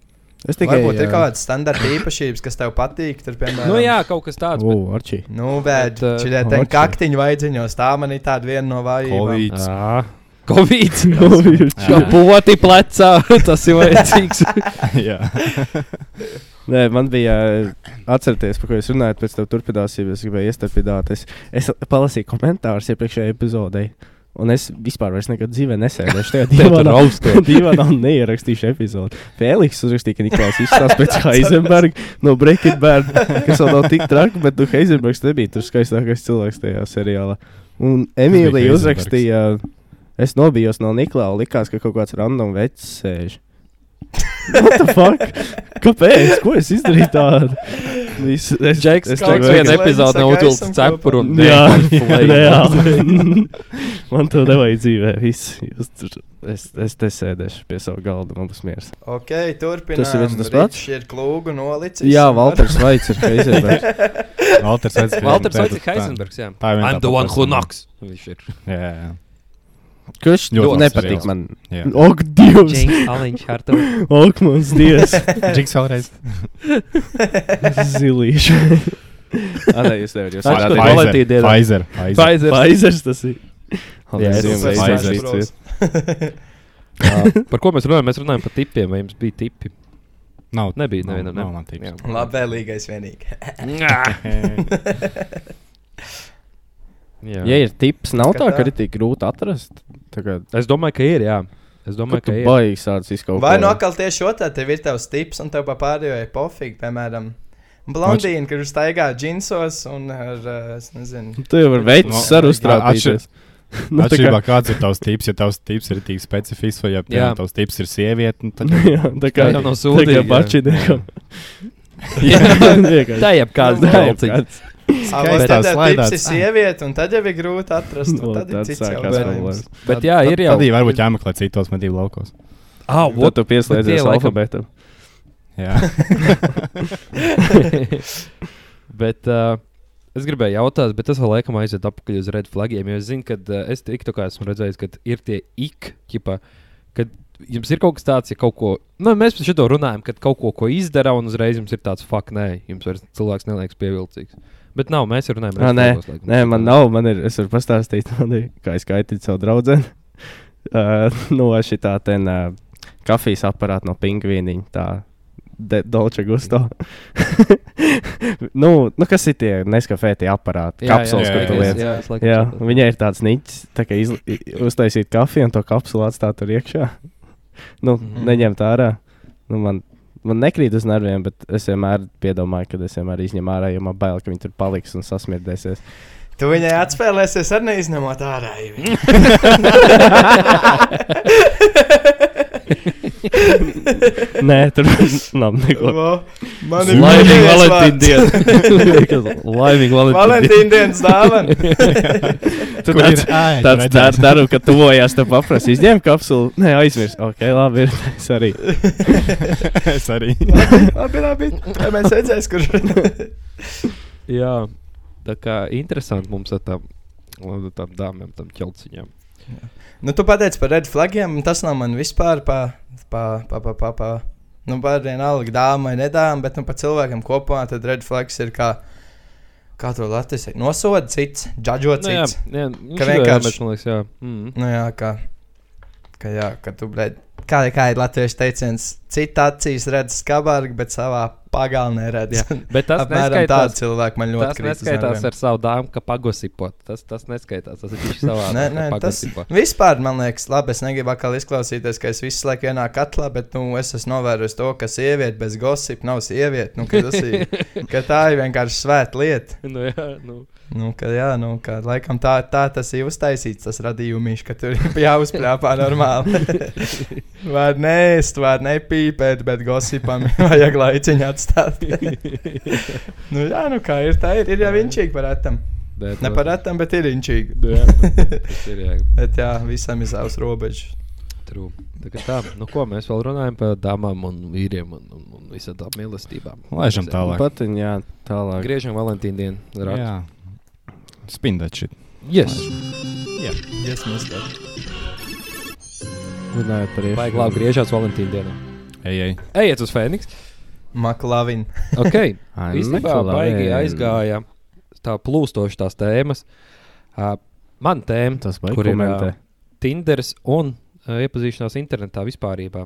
S7: Es
S5: Tikai, Varbūt jā. ir kaut
S7: kāds.
S5: kādas standarta īpašības, kas tev patīk. Tur, piemēram,
S1: Nu jā, kaut kas tāds. Bet...
S7: Ugh, Arčī.
S5: Nu, bet
S1: Bet, uh,
S5: šī te
S7: Oči.
S5: kaktiņa vaidziņos, tā man ir tāda viena no vājībām.
S4: Covid.
S1: Ā, Covid. Kā poti plecā, tas ir vajadzīgs.
S4: Jā,
S7: Nē, man bija eh, atcerieties, par ko es runāju, pēc tam turpināsim. Es gribēju iestarpināt. Es, es palasīju komentārus iepriekšējai epizodei. Un es vispār vairs nekad dzīvē nesēdēšu tajā
S1: Tev tur
S7: divā
S1: augstu.
S7: Divā nav neierakstījuši epizodi. Fēliks uzrakstīja, ka Niklaus izstāsta pēc Heisenberga no Breaking Bad, kas vēl nav tik traki, bet nu, Heisenbergs nebija tur skaistākais cilvēks tajā seriālā. Un Emīlija
S4: Heisenbergs.
S7: uzrakstīja, es nobijos no Niklaus, likās, ka kaut kāds random vecs sēž. What the fuck? Kāpēc? Ko es izdarīju tādu? Es, es,
S1: Džeks,
S7: es
S1: kā
S7: tagad
S5: kaut
S1: viena
S5: kāds
S1: epizode
S5: lēns
S1: nav
S5: ar
S1: uzvilcis
S5: gaisam
S1: cepuru un
S7: Jā,
S1: nē,
S7: jā,
S1: flame.
S7: reāli. Man to nevajag dzīvē. Viss. Jūs tur- Es, es te sēdēšu pie sava galda, man būs miers.
S5: Ok, turpinām.
S7: Tas ir viens un tas pats?
S5: Ričs ir klūgu nolicis.
S7: Jā, Valters Vaits ir Heisenbergs.
S4: Valters Vaits.
S1: Valters Vaits ir Heisenbergs, jā.
S4: tā ir viena
S1: I'm
S4: tā
S1: the one who
S4: persona.
S1: knocks. Viņš ir.
S4: Jā, jā, jā.
S7: Kurš
S4: Ļoti labs
S7: nepatīk
S4: seriāls.
S7: man?
S4: jā.
S7: Ok, Dievs!
S1: Džeks, Aliņš, Hartovs.
S7: Ok, mans Dievs!
S4: Džiks vēlreiz.
S7: Zilīši. Nē, jūs nevarat. Jūs
S1: Nē,
S7: varat.
S1: Atšķirīgi.
S4: Pfizer,
S1: kvalitīti iedod.
S4: Pfizer, Pfizer.
S7: Paizers tas ir.
S4: Jā, es
S7: Zilīši.
S4: esmu Pfizer.
S7: Pfizer.
S1: Ā, Par ko mēs runājam? Mēs runājam par tipiem, vai jums bija tipi?
S4: Nav,
S1: Nebija
S4: nav-
S1: nevienam, ne?
S4: Nav man tips.
S5: Labvēlīgais vienīgi.
S1: Jā.
S7: Ja ir tips, nav tā,
S5: Skatā.
S7: ka ir tik grūti atrast. Tagad.
S1: Es domāju, ka ir, jā. Es domāju, ka ir.
S7: Baigs tāds izkaut.
S5: Vai nu atkal tieši otrā, tev ir tavs tips, un tev pa pārējo ir pofīgi, piemēram, blondīna, kurš staigā džinsos un ar, uh, es nezinu,
S7: Tu jau vari veids
S4: No,
S7: ar uztraucīties.
S4: Nu, Atšķirībā, kāds ir tavs tips, ja tavs tips ir tik specifisks, vai ja
S1: Jā.
S4: piemēram, tavs tips ir sieviete, nu, tad
S7: Jā, tā kā
S1: jau nav
S7: tā kā
S1: sūdīgi, jā.
S7: bačiniekam.
S1: Jā.
S7: Vienkārši.
S1: Tā jau kāds
S7: Tā jau
S1: dalciņš.
S7: kāds.
S5: Ah, vai
S4: Skaistās
S5: tad tev
S4: slaidāts.
S5: tips ir sieviete, un tad jau ir grūti atrast,
S7: No,
S5: un tad
S7: Nu,
S5: ir
S7: tad
S5: cits
S7: sākās
S5: jautājums.
S7: problēmas.
S1: Bet jā, ir jau.
S4: tad ir varbūt jāmeklē citos medību laukos.
S1: Ah,
S7: Tad
S1: what? Bet
S7: tu
S1: tie
S7: pieslēdzies
S1: laikam-
S7: alfabetam.
S4: Jā,
S1: bet uh, es gribēju jautāt, bet tas vēl laikam aiziet apakaļ uz red flagiem. Jo es zinu, ka uh, es tik tā kā esmu redzējis, ka ir tie ik, ķipa, kad jums ir kaut kas tāds, ja kaut ko, nu, mēs par šo runājam, kad kaut ko, ko izdara, un uzreiz jums ir tāds fakt, nē, jums vairs cilvēks neliekas pievilcīgs. Bet nav, mēs jau runājam,
S7: Ā,
S1: red
S7: Nē,
S1: flagos, laikam.
S7: nē, man nav, man ir, es varu pastāstīt, man ir, kā es kaitinu savu draugu. Uh, no šī tā ten uh, kafijas aparāta no pingvīniņa, tā de- Dolce Gusto. nu, nu, kas ir tie neskafē tie
S1: Jā,
S7: aparāti,
S1: jā,
S7: kapsulas,
S1: jā,
S7: kur tu
S1: jā,
S7: lietas?
S1: jā, es laikam
S7: Jā,
S1: saprotu.
S7: viņai ir tāds niķis, tā kā izl- i- uztaisīt kafiju un to kapsulu atstāt tur iekšā. Nu,
S1: Mhm.
S7: mm. neņemt ārā. Nu, man, man nekrīt uz nerviem, bet es vienmēr piedomāju, ka es vienmēr izņemu ārā, jo man bail, ka viņi tur paliks un sasmirdēsies.
S5: Tu viņai atspēlēsies ar neizņemot ārā. jau.
S7: Nē, tur nav neko.
S5: Vo, Man ir
S1: Laimīgi
S5: pēdējais
S1: Valentīna
S5: vārds.
S1: diena! Laimīgi Valentīna
S5: Valentīna dienas dāvana.
S7: Tur tāds, tāds dar, daru, ka tuvojās, tad paprasti izņem kapsulu. Nē, aizmirst. Ok, labi, ir es arī.
S4: es arī.
S5: Labi, labi. Vai Mēs redzēsim, kurš.
S1: diena! Jā, tā kā interesanti mums ar tām, ar tām dāmām, tam ķelciņām.
S5: Nu, tu pateici par red flagiem, un tas nav man vispār pa, pa, pa, pa, pa, pa. Nu, par vienalga dāmu vai nedāmu, bet nu, par cilvēkiem kopumā tad red flags ir kā, kā to latvijas saka, nosoda cits, džadžot
S1: Nu, jā,
S5: cits.
S1: jā,
S5: Ka
S1: ka vienkārši.
S5: vienkārši-
S1: Mēs, man liekas, jā. Mm.
S5: Nu, jā, kā, kā, jā, kā tu, red, kā, kā ir latviešu teiciens, cita acīs redz skabargu, bet savā pagalnē redz.
S1: Bet tas
S5: Apmēram
S1: neskaitās,
S5: tāds cilvēks man ļoti
S1: tas
S5: krīt uz nerviem.
S1: neskaitās ar savu dāmu, ka pagosipot. Tas, tas neskaitās, tas ir tieši savā.
S5: Nē, nē, tas Nu, vispār man liekas, labi. Es negribu atkal izklausīties, ka es visu laiku vienā katlā, bet nu, es esmu novērojis to, ka sieviete bez gosipa nav sieviete. Nu, ka, tas ir, ka tā ir vienkārši svēta lieta.
S1: nu, jā, nu.
S5: Nu, ka, jā, nu, ka, laikam tā, tā tas ir uztaisīts, tas radījumīšs, ka tur ir jāuzplāpā normāli. Var nēst, var nepīpēt, bet gosipam vajag laiciņu atstāt. nu, jā, nu kā ir, tā ir. Ir jau inčīgi par atam.
S1: Nē,
S5: Ne par atam, bet ir inčīgi.
S1: Nu, jā, tas ir jā.
S5: Bet jā, visam ir savs robežs.
S1: True. Tā kā tā, nu ko mēs vēl runājam par dāmām un vīriem un, un, un visām tām mīlestībām.
S4: Laižam tālāk.
S7: Patiņ, jā, tālāk.
S1: Griežam Valentīna dienu. rakstu.
S4: Jā, spindēt šit.
S1: Yes.
S5: Yes, mums tā.
S7: Runājot par
S1: Vajag labi griežās Valentīna dienā.
S4: Ej, ej.
S1: Ejiet uz Fēniks.
S5: Maklavin.
S1: Okay.
S7: Ai, nu,
S1: Īstenībā
S7: Nikolai.
S1: baigi
S7: nu.
S1: aizgāja tā plūstoši tās tēmas. Uh, man tēma,
S7: Tas vajag
S1: kur ir,
S7: komentē.
S1: ā, Tinderis un uh, iepazīšanās internetā vispār. Uh,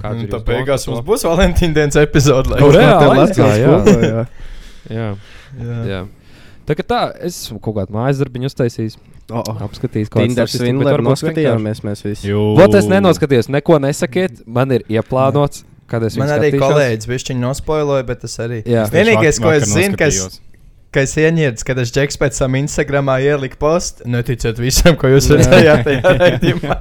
S1: kāds ir jūsu
S5: Nu, Tā
S1: domas
S5: beigās mums
S1: par to?
S5: būs Valentīna dienas epizode.
S1: Nu,
S5: laikam.
S1: re- reāli aizgāja, jā.
S7: jā.
S1: Jā,
S5: Jā.
S1: jā. Tā kā tā, es esmu kaut kādu mājas darbu uztaisījis,
S7: Oh, oh.
S1: apskatījis, kāda
S7: Tinder svindleri noskatījāmies mēs visi.
S1: Vot es nenoskatījos, neko nesakiet. Man ir ieplānots, kad es
S5: Man
S1: viņu
S5: arī
S1: skatīšos.
S5: kolēģis bija nospoiloja, bet tas arī.
S1: Jā.
S5: Vienīgais, ko es zinu, ka es, ka es ieņēmu, kad es džeks pēc tam Instagramā ieliku postu, neticiet visam, ko jūs redzējāt. tajā raidījumā.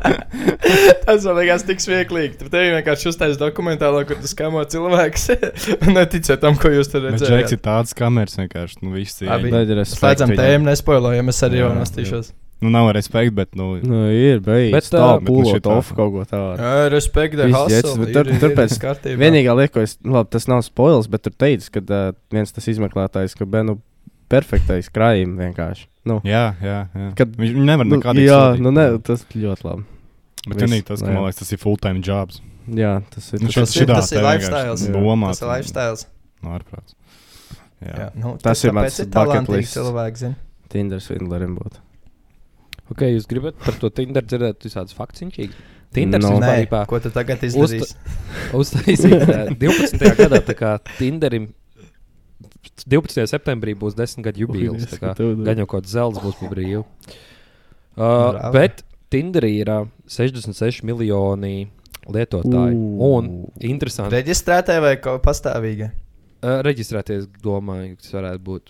S5: Tas man liekas tik smieklīgi. Tur tev vienkārši uztais dokumentālā, kur tu skamo cilvēks. neticiet tam, ko jūs tur
S4: Bet Džeks
S5: redzējāt.
S4: ir tāds kameras vienkārši. Nu, viss ir.
S5: eh, Abi.
S7: Tad ir
S5: Slēdzam
S7: respekti viņam.
S5: tēmu, nespoilojam, es arī
S4: Jā,
S5: jau
S4: jā.
S5: nostīšos.
S4: Nu, nav respekta, bet, nu,
S7: Nu, ir beigas.
S1: Bet,
S7: Bet tā
S1: ā,
S4: bet nu
S7: pūlot
S4: šitā.
S7: off kaut ko tādu.
S5: Jā, respektu,
S7: Viss jets,
S5: hustle.
S7: bet tur- turpēc-
S5: kārtībā.
S7: Vienīgā lieta, ko es, nu, labi, tas nav spoils, bet tur teica, ka uh, viens tas izmeklētājs, ka Benu perfektais krājums vienkārši. Nu,
S4: jā, jā. jā.
S7: Kad-
S4: Kad, viņš nevar
S7: nu,
S4: nekādīgi.
S7: jā,
S4: sodīt.
S7: nu ne, tas ļoti labi.
S4: Bet
S7: viss,
S4: vienīgi tas, ka,
S7: jā.
S4: man liekas, tas ir full-time jobs.
S7: Jā, tas ir.
S4: Nu,
S7: Tas,
S5: Tas
S4: šit-
S5: ir,
S4: šitā
S5: tas ir
S4: te vienkārši
S5: lifestyles.
S4: domāt.
S5: Tas ir lifestyles.
S4: Nu, ārprāts. Jā.
S5: Jā, nu,
S7: Tas ir mans
S5: tāpēc
S7: bucket
S5: talantīgi
S7: list.
S5: cilvēki, zini.
S7: Tinder svindlerim būtu.
S1: Okay, jūs gribat par to Tinder dzirdēt, visādas faktiņķīgi. Tinder
S7: Nu.
S1: no.
S5: Nē,
S1: vispār
S5: ko tu tagad izdarīsi?
S1: uztaisīts ā, 12. gadā, tā kā Tinderim 12. septembrī būs 10 gadu jubilejas. tā kā Gan jau kaut kāds zelts būs pa brīvu. Uh,
S5: Bravo.
S1: bet Tinderī ir uh, 66 miljoni lietotāji.
S7: Ū.
S1: Un interesanti,
S5: Reģistrētā vai ko- pastāvīga?
S1: uh, reģistrēties, domāju, tas varētu būt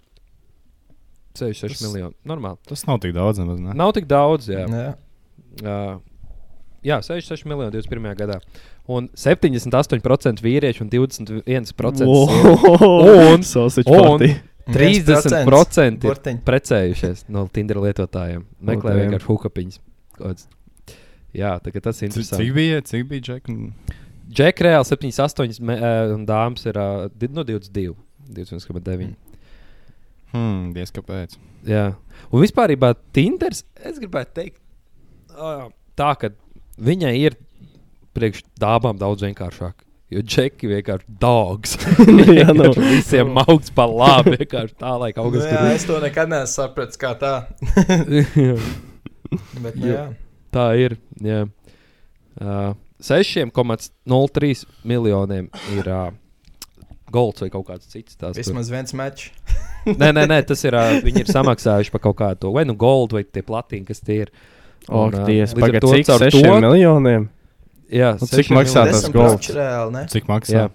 S1: 66
S5: Tas-
S1: miljoni. Normāli.
S4: Tas nav tik daudz, nemaz ne.
S1: Nav tik daudz, jā.
S5: Jā.
S1: Uh, jā, 66 miljoni 21. gadā. Un 78% vīriešu un 21% sieviešu.
S7: Oh,
S1: Un-
S7: sausage
S1: un-
S7: party.
S1: 30% ir
S5: Burtiņ.
S1: precējušies no Tinder lietotājiem. Meklē
S7: Lūdējiem.
S1: vienkārši hukapiņas. Kāds- Jā, tā kā tas ir
S4: Cik,
S1: interesanti.
S4: cik bija, cik bija Džek? Nu,
S1: Džek reāli 7, 8 me, eh, un dāmas ir uh, no 22, 21,9.
S4: Hmm, diez kāpēc.
S1: Jā, un vispār Tinders, es gribētu teikt, ā, tā ka viņai ir priekš dāmām daudz vienkāršāk. Jo džeki vienkārši dogs.
S7: Jā, nu.
S1: Vienkārši visiem augs pa labi. Vienkārši tā, lai kaut kas
S5: Nu, jā, es to nekad nesapratu, kā tā.
S1: tur ir.
S5: Bet, nu, jā.
S1: tā ir. Jā. Uh, 6,03 miljoniem ir uh, golds vai kaut kāds cits. tās tur.
S5: Vismaz viens mačs.
S1: Nē, nē, nē, tas ir. Uh, viņi ir samaksājuši par kaut kādu to vai nu goldu, vai tie platīni, kas tie ir.
S7: Ok,
S1: Un, ā,
S7: ties,
S1: līdz ar
S7: pagad,
S1: to
S7: cik
S1: caur
S7: 6
S1: to-
S7: miljoniem?
S1: Jā,
S7: Un cik maksā tas
S5: Desmit
S7: golds?
S5: procentu Reāli, ne?
S4: Cik
S1: Jā.
S4: maksā?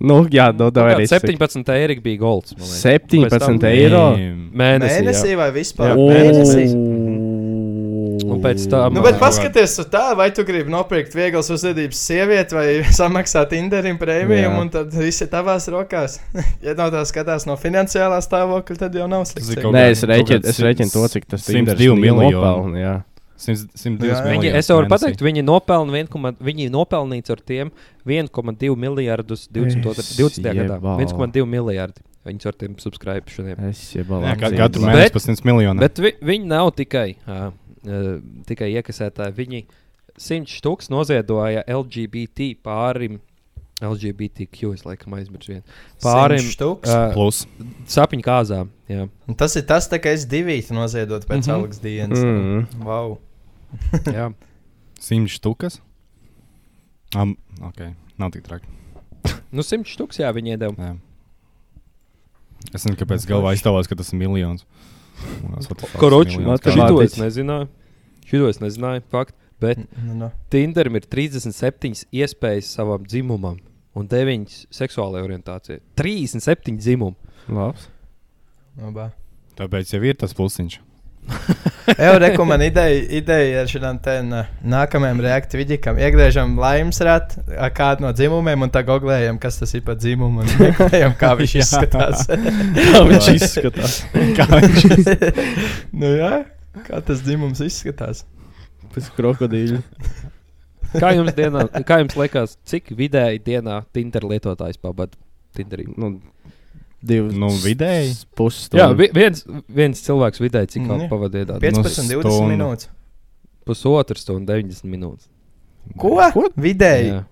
S7: Nu, jā, no tā arī.
S1: Tagad 17 eiro bija golds. man liekas.
S7: 17
S1: Pēc tam-
S7: eiro.
S4: Damn.
S1: Mēnesī.
S5: Mēnesī
S1: Mēnesī.
S5: vai
S4: Jā,
S5: vispār? Jā, mēnesī.
S1: Un pēc tam-
S5: Nu,
S1: Jā.
S5: bet paskaties, tu tā, vai tu gribi nopirkt vieglas uzvedības sievieti, vai samaksāt Inderim prēmiju,
S7: Jā.
S5: un tad viss ir tavās rokās. ja no tā skatās no finansiālā stāvokļa, tad jau nav
S4: Tas ir
S5: slikti.
S4: kaut
S7: Nē,
S4: kāds-
S7: es rēķinu,
S4: kaut kāds
S7: es rēķinu to,
S4: simts-
S7: cik tas
S4: 102 miljoni.
S7: nopelna. Jā,
S4: Simts-
S5: Jā,
S4: 102
S5: jā.
S1: Viņi,
S4: miljoni
S1: es jau varu
S4: mēnesī.
S1: pateikt, viņi nopelna 1,2 viņi nopelnīts ar tiem 1,2 miljardus 2020.
S7: Es
S1: gadā.
S7: jebal.
S1: 1,2 miljardi viņus ar tiem subscriptioniem.
S7: es jau
S4: Jā,
S7: balāju.
S4: ka- Katru
S1: Bet-
S4: mēnesi pa 100 miljoniem.
S1: Bet vi, viņi nav tikai, uh, uh, tikai iekasētāji. Viņi 100 stūks noziedoja LGBT pārim. LGBTQ, es laikam aizmirsu vienu. Pārim
S5: Štuks.
S1: uh,
S4: Plus.
S1: sapņu kāzām. Jā.
S5: Un Tas ir tas, tā kā es divīti noziedot
S1: Mhm.
S5: pēc mm -hmm. algas dienas. Mm.
S7: Mm.
S5: Wow.
S1: Jā.
S4: 100 štukas. Am, ok, nav tik traki.
S1: Nu, 100 stūks, jā, viņi iedeva.
S4: Jā. Es nezinu, kāpēc galvā iztēlās, ka tas ir miljons. Liekas, what the fuck,
S1: Koroči,
S4: miljons
S7: kā-
S1: šito es
S7: Matemātiķis.
S1: nezināju. Šito es nezināju, fakt. Bet
S5: Nu, nu.
S1: Tinderim ir 37 iespējas savam dzimumam un 9 seksuālajai orientācijai. 37 dzimumu.
S7: Labs.
S5: Nu, bā.
S4: Tāpēc jau ir tas plusiņš.
S5: Jau reku man ideja, ideja ar šādām te nā- nākamajām reaktīvām. Iegriežam laimes ratu, ā, kādu no dzimumiem, un tā googlējam, kas tas ir par dzimumu. Un meklējam, kā viņš
S4: Jā.
S5: izskatās.
S7: Kā viņš izskatās?
S4: Kā viņš
S5: nu, jā, kā tas dzimums izskatās?
S7: Pēc krokodīļa.
S1: Kā jums, dienā, kā jums liekas, cik vidēji dienā Tinder lietotājs pabada Tinderī?
S7: Nu, divi.
S4: Nu, vidēji.
S7: Pusstundu.
S1: Jā, vi- viens, viens cilvēks vidēji cik
S5: Mm, jā.
S1: mm, pavadīja
S4: Pie-
S5: 15, 20
S4: stundu.
S5: minūtes.
S1: pusotru stundu, 90 minūtes.
S5: Ko?
S7: Ko?
S5: Vidēji.
S1: Jā.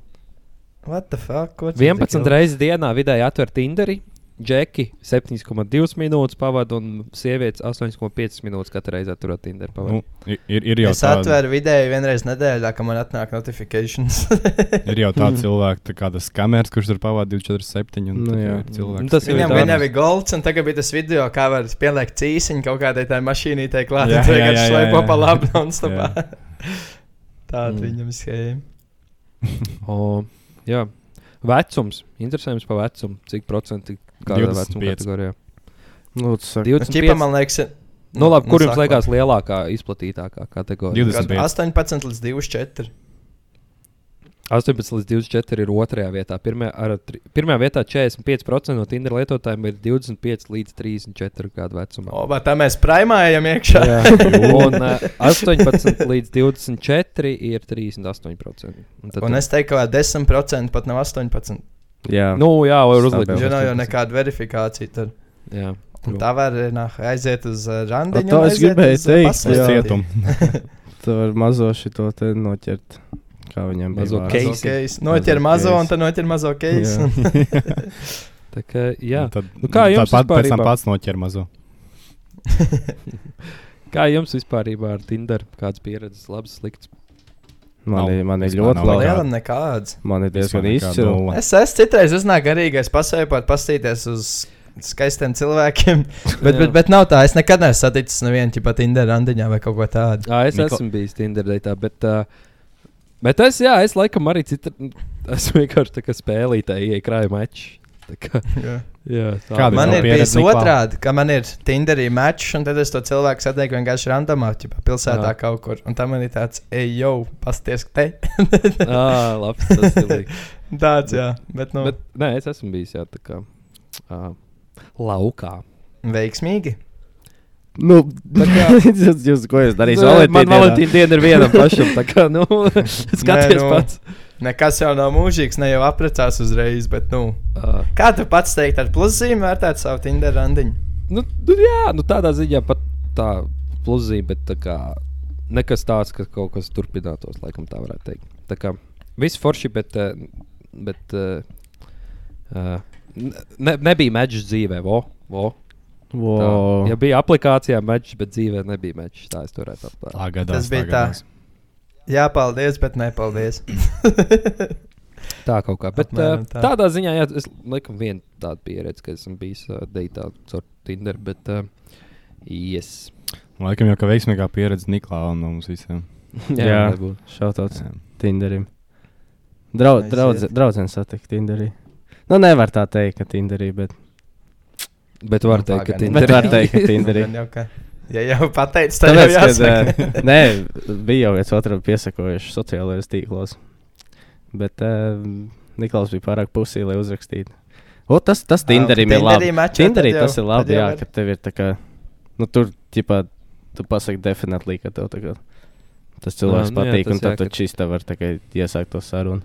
S5: What the fuck? Ko tas tik
S1: 11
S5: ilgi?
S1: reizes dienā vidēji atver Tinderī Džeki 7,2 minūtes pavadīja, un sievietes 8,5 minūtes katru reizi atturot Tinder.
S4: Nu,
S1: Nu.
S4: i- ir, ir jau
S5: Es atveru vidēji vienreiz nedēļā, kad man atnāk notifikācijas.
S4: Ir jau tā cilvēka, tā kā tas kameras, kurš tur pavadīja 24,7 un
S7: Nu
S4: tad
S7: jā.
S4: jau ir cilvēks.
S1: Nu, tas
S5: Viņam
S1: tā.
S5: vienā bija golds, un tagad bija tas video, kā var pielikt cīsiņu kaut kādai tai mašīnītei klāt.
S4: Jā, jā,
S5: Jā, jā,
S4: jā,
S5: jā,
S4: jā,
S5: jā.
S4: jā.
S5: Pa labi non-stopā.
S4: Jā.
S5: Tāda
S1: Mm.
S5: viņam schēma.
S1: O, jā, vecums. Interesējums par vecumu. Cik procenti kādā
S4: 25.
S1: vecuma kategorijā?
S7: Lūdzu, saka.
S1: 25.
S5: Čipa, man liekas, ir-
S1: Nu, labi, kur jums
S5: sākumā.
S1: liekas lielākā, izplatītākā kategorija?
S4: 25.
S5: 18 līdz 24.
S1: 18 līdz 24 ir otrajā vietā. Pirmajā, ar, tri- pirmajā vietā 45% no Tinder lietotājiem ir 25 līdz 34 gadu vecumā.
S5: O, bet tā mēs primājam iekšā.
S1: Jā. Un uh, 18 līdz 24 ir 38%. Un Tad,
S5: Un es teiktu, ka 10% pat nav 18.
S7: Jā,
S1: nu, jā, var uzlikt.
S7: Stabilu.
S5: Jo nav jau nekāda verifikāciju. Tad.
S1: Jā,
S5: Un tā var eh, nā, aiziet uz eh, randiņu.
S7: to
S5: un
S7: es
S5: aiziet
S7: gribēju
S5: uz, eh,
S7: teikt,
S4: Uz
S5: pasēdi.
S7: jā.
S4: cietumu.
S7: tu vari mazo šito te noķert. Kā viņam bija?
S1: Mazo
S7: vārds.
S1: keisu. Keisi.
S5: Mazo keisi. Noķer mazo,
S7: keisi.
S5: un tad noķer mazo
S7: Jā.
S5: keisu.
S1: tā kā, jā.
S4: Un Tad,
S1: Nu, kā jums
S4: Tāpat pēc
S1: vispārībā?
S4: tam pats noķer mazo.
S1: Kā jums vispār ar Tinder? Kādas pieredzes, labas, sliktas?
S7: Man
S4: Nav.
S7: ir- man ir
S4: Vispār
S7: ļoti
S4: nav nekāda.
S7: labi.
S5: Lielam nekāds.
S7: Man ir diezgan
S4: Vispār nekā
S7: izcili.
S4: nulle.
S5: Es esmu citreiz uznāk garīgais pasveipot, pastīties uz skaistiem cilvēkiem. Bet,
S1: Jā.
S5: bet, bet nav tā, es nekad neesmu saticis nevienu, ja pat Indijā randiņā vai kaut ko tādu.
S1: À, es
S4: Niko-
S1: Niko... esmu bijis Tinder daitā, bet, uh, bet es, jā, es laikam arī citu. Es vienkārši tā kā spēlītāji iekrāju maču. Tā kā,
S5: Jā.
S1: jā, tā
S4: Kāda
S1: bija.
S5: Man
S4: nav
S5: ir
S4: pieredze
S5: bijis
S4: Niklā.
S5: otrādi, ka man ir Tinderī matčs, un tad es to cilvēku satieku vienkārši randomā, ja pilsētā
S1: Jā.
S5: Jā. kaut kur. Un tam man ir tāds, ej, jau, pasties, te.
S1: Ah, labi, tas ir labi.
S5: Tāds, jā, bet nu,
S1: Bet, nē, es esmu bijis jā, tā kā uh, laukā.
S5: veiksmīgi.
S7: Nu, jūs, jūs, ko jūs darīsiet?
S1: Nu, man
S7: Valentīna dienā?
S1: Valentīna diena ir vienam pašam. Tā kā, nu, skaties
S5: nu.
S1: nē, pats.
S5: Nekas jau nav mūžīgs, ne jau apprecās uzreiz, bet, nu,
S1: Uh,
S5: kā tu pats teikt, ar pluszīm vērtēt savu Tinder randiņu?
S1: nu, nu, jā, nu tādā ziņā pat tā pluszīme, bet tā kā nekas tāds, ka kaut kas turpinātos, laikam tā varētu teikt. Tā kā viss forši, bet, eh, bet uh, ne, nebija medžs dzīvē, vo. vo. Tā,
S7: Wow.
S1: ja bija aplikācijā medžs, bet dzīvē nebija medžs. Tā es turētu aptvert.
S4: Tā gadās.
S5: Tas bija tā.
S4: gadās.
S5: Jā, paldies, bet nepaldies.
S1: Tā kaut kā. Bet, uh,
S5: Apmēram tā.
S1: tā. Tādā ziņā, jā, es laikam vienu tādu pieredzi, ka esmu bijis uh, deitā caur Tinder. Bet, uh, yes.
S4: Laikam jau kā veiksmīgā pieredze Niklāvam no mums visiem.
S7: Jā.
S1: varētu būt.
S7: Šautauts
S4: Jā.
S7: Tinderim. Drau,
S5: Aiziet.
S7: draudze, draudzene satikt Tinderī. Nu, nevar tā teikt, ka Tinderī, bet
S1: Bet var teikt, ka
S5: pagaidi.
S1: Tinder.
S7: Bet var teikt, ka Tinderī.
S5: Gan jau ka- Ja jau pateicis, tad jau
S7: Tāpēc,
S5: jāsaka.
S7: kad, eh, nē, bija jau viens otram piesakojuši sociālajos tīklos. Bet uh, Niklaus bija pārāk pusī, lai uzrakstītu. O, tas tas
S5: Ah,
S7: Tinderim ir labi.
S5: Tinderī mačā
S7: Tinderī
S5: tad jau-
S7: tas ir labi,
S5: tad jau
S7: jā,
S5: var.
S7: ka tev ir tā kā, nu tur, ķipā, tu pasaki definitely, ka tev tā kā tas cilvēks
S1: nu jā,
S7: patīk,
S1: tas
S7: un tad
S1: jā,
S7: tu
S1: ka-
S7: čīsta var tā kā iesākt to sarunu.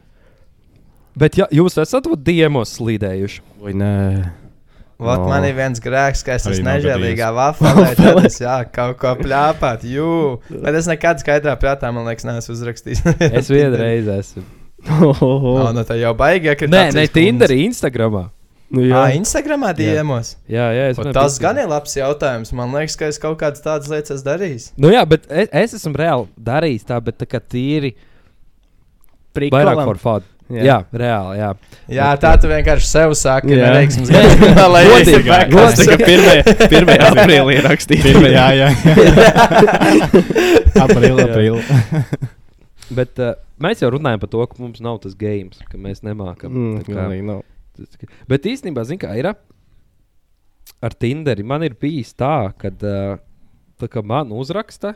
S1: Bet ja, jūs esat vat diemos slīdējuši.
S7: Oi, nē.
S5: Vot
S7: No.
S5: man ir viens grēks, ka es
S4: Arī
S5: esmu
S4: nav
S5: nežēlīgā vaflē, tad es jā, kaut ko plāpāt, jū. Bet es nekad skaidrā prātā, man liekas, neesmu uzrakstījis.
S1: Es vienreiz esmu.
S5: O, nu tā jau baigi, ka
S1: Nē, ne Tinderī, Instagramā.
S7: Nu,
S5: Jā,
S7: jā,
S5: Instagramā
S1: Jā.
S5: diemos.
S1: Jā, jā, es
S5: O,
S1: man
S5: Tas
S1: bija-
S5: gan ir labs jautājums. Man liekas, ka es kaut kādas tādas lietas esmu darījis.
S1: Nu jā, bet es, es esmu reāli darījis tā, bet tā kā tīri vairāk par fādu. Jā. jā, reāli, jā.
S5: Jā, tā tu vienkārši sev saki,
S7: Jā.
S5: ka neveiksmes gadījumā, lai
S1: Godīgi,
S5: esi back
S1: godīgi.
S5: uz-
S7: Tā kā pirmie- pirmie aprīlī rakstīja.
S4: Pirmā, jā, jā. Aprīlis, aprīlis.
S1: Bet uh, mēs jau runājam par to, ka mums nav tas games, ka mēs nemākam.
S7: Mm,
S1: tā kā-
S7: galīgi nav.
S1: Tas tik- Bet īstenībā, zinu, kā ir ā, ar Tinderi. Man ir bijis tā, ka eh, tā kā man uzraksta,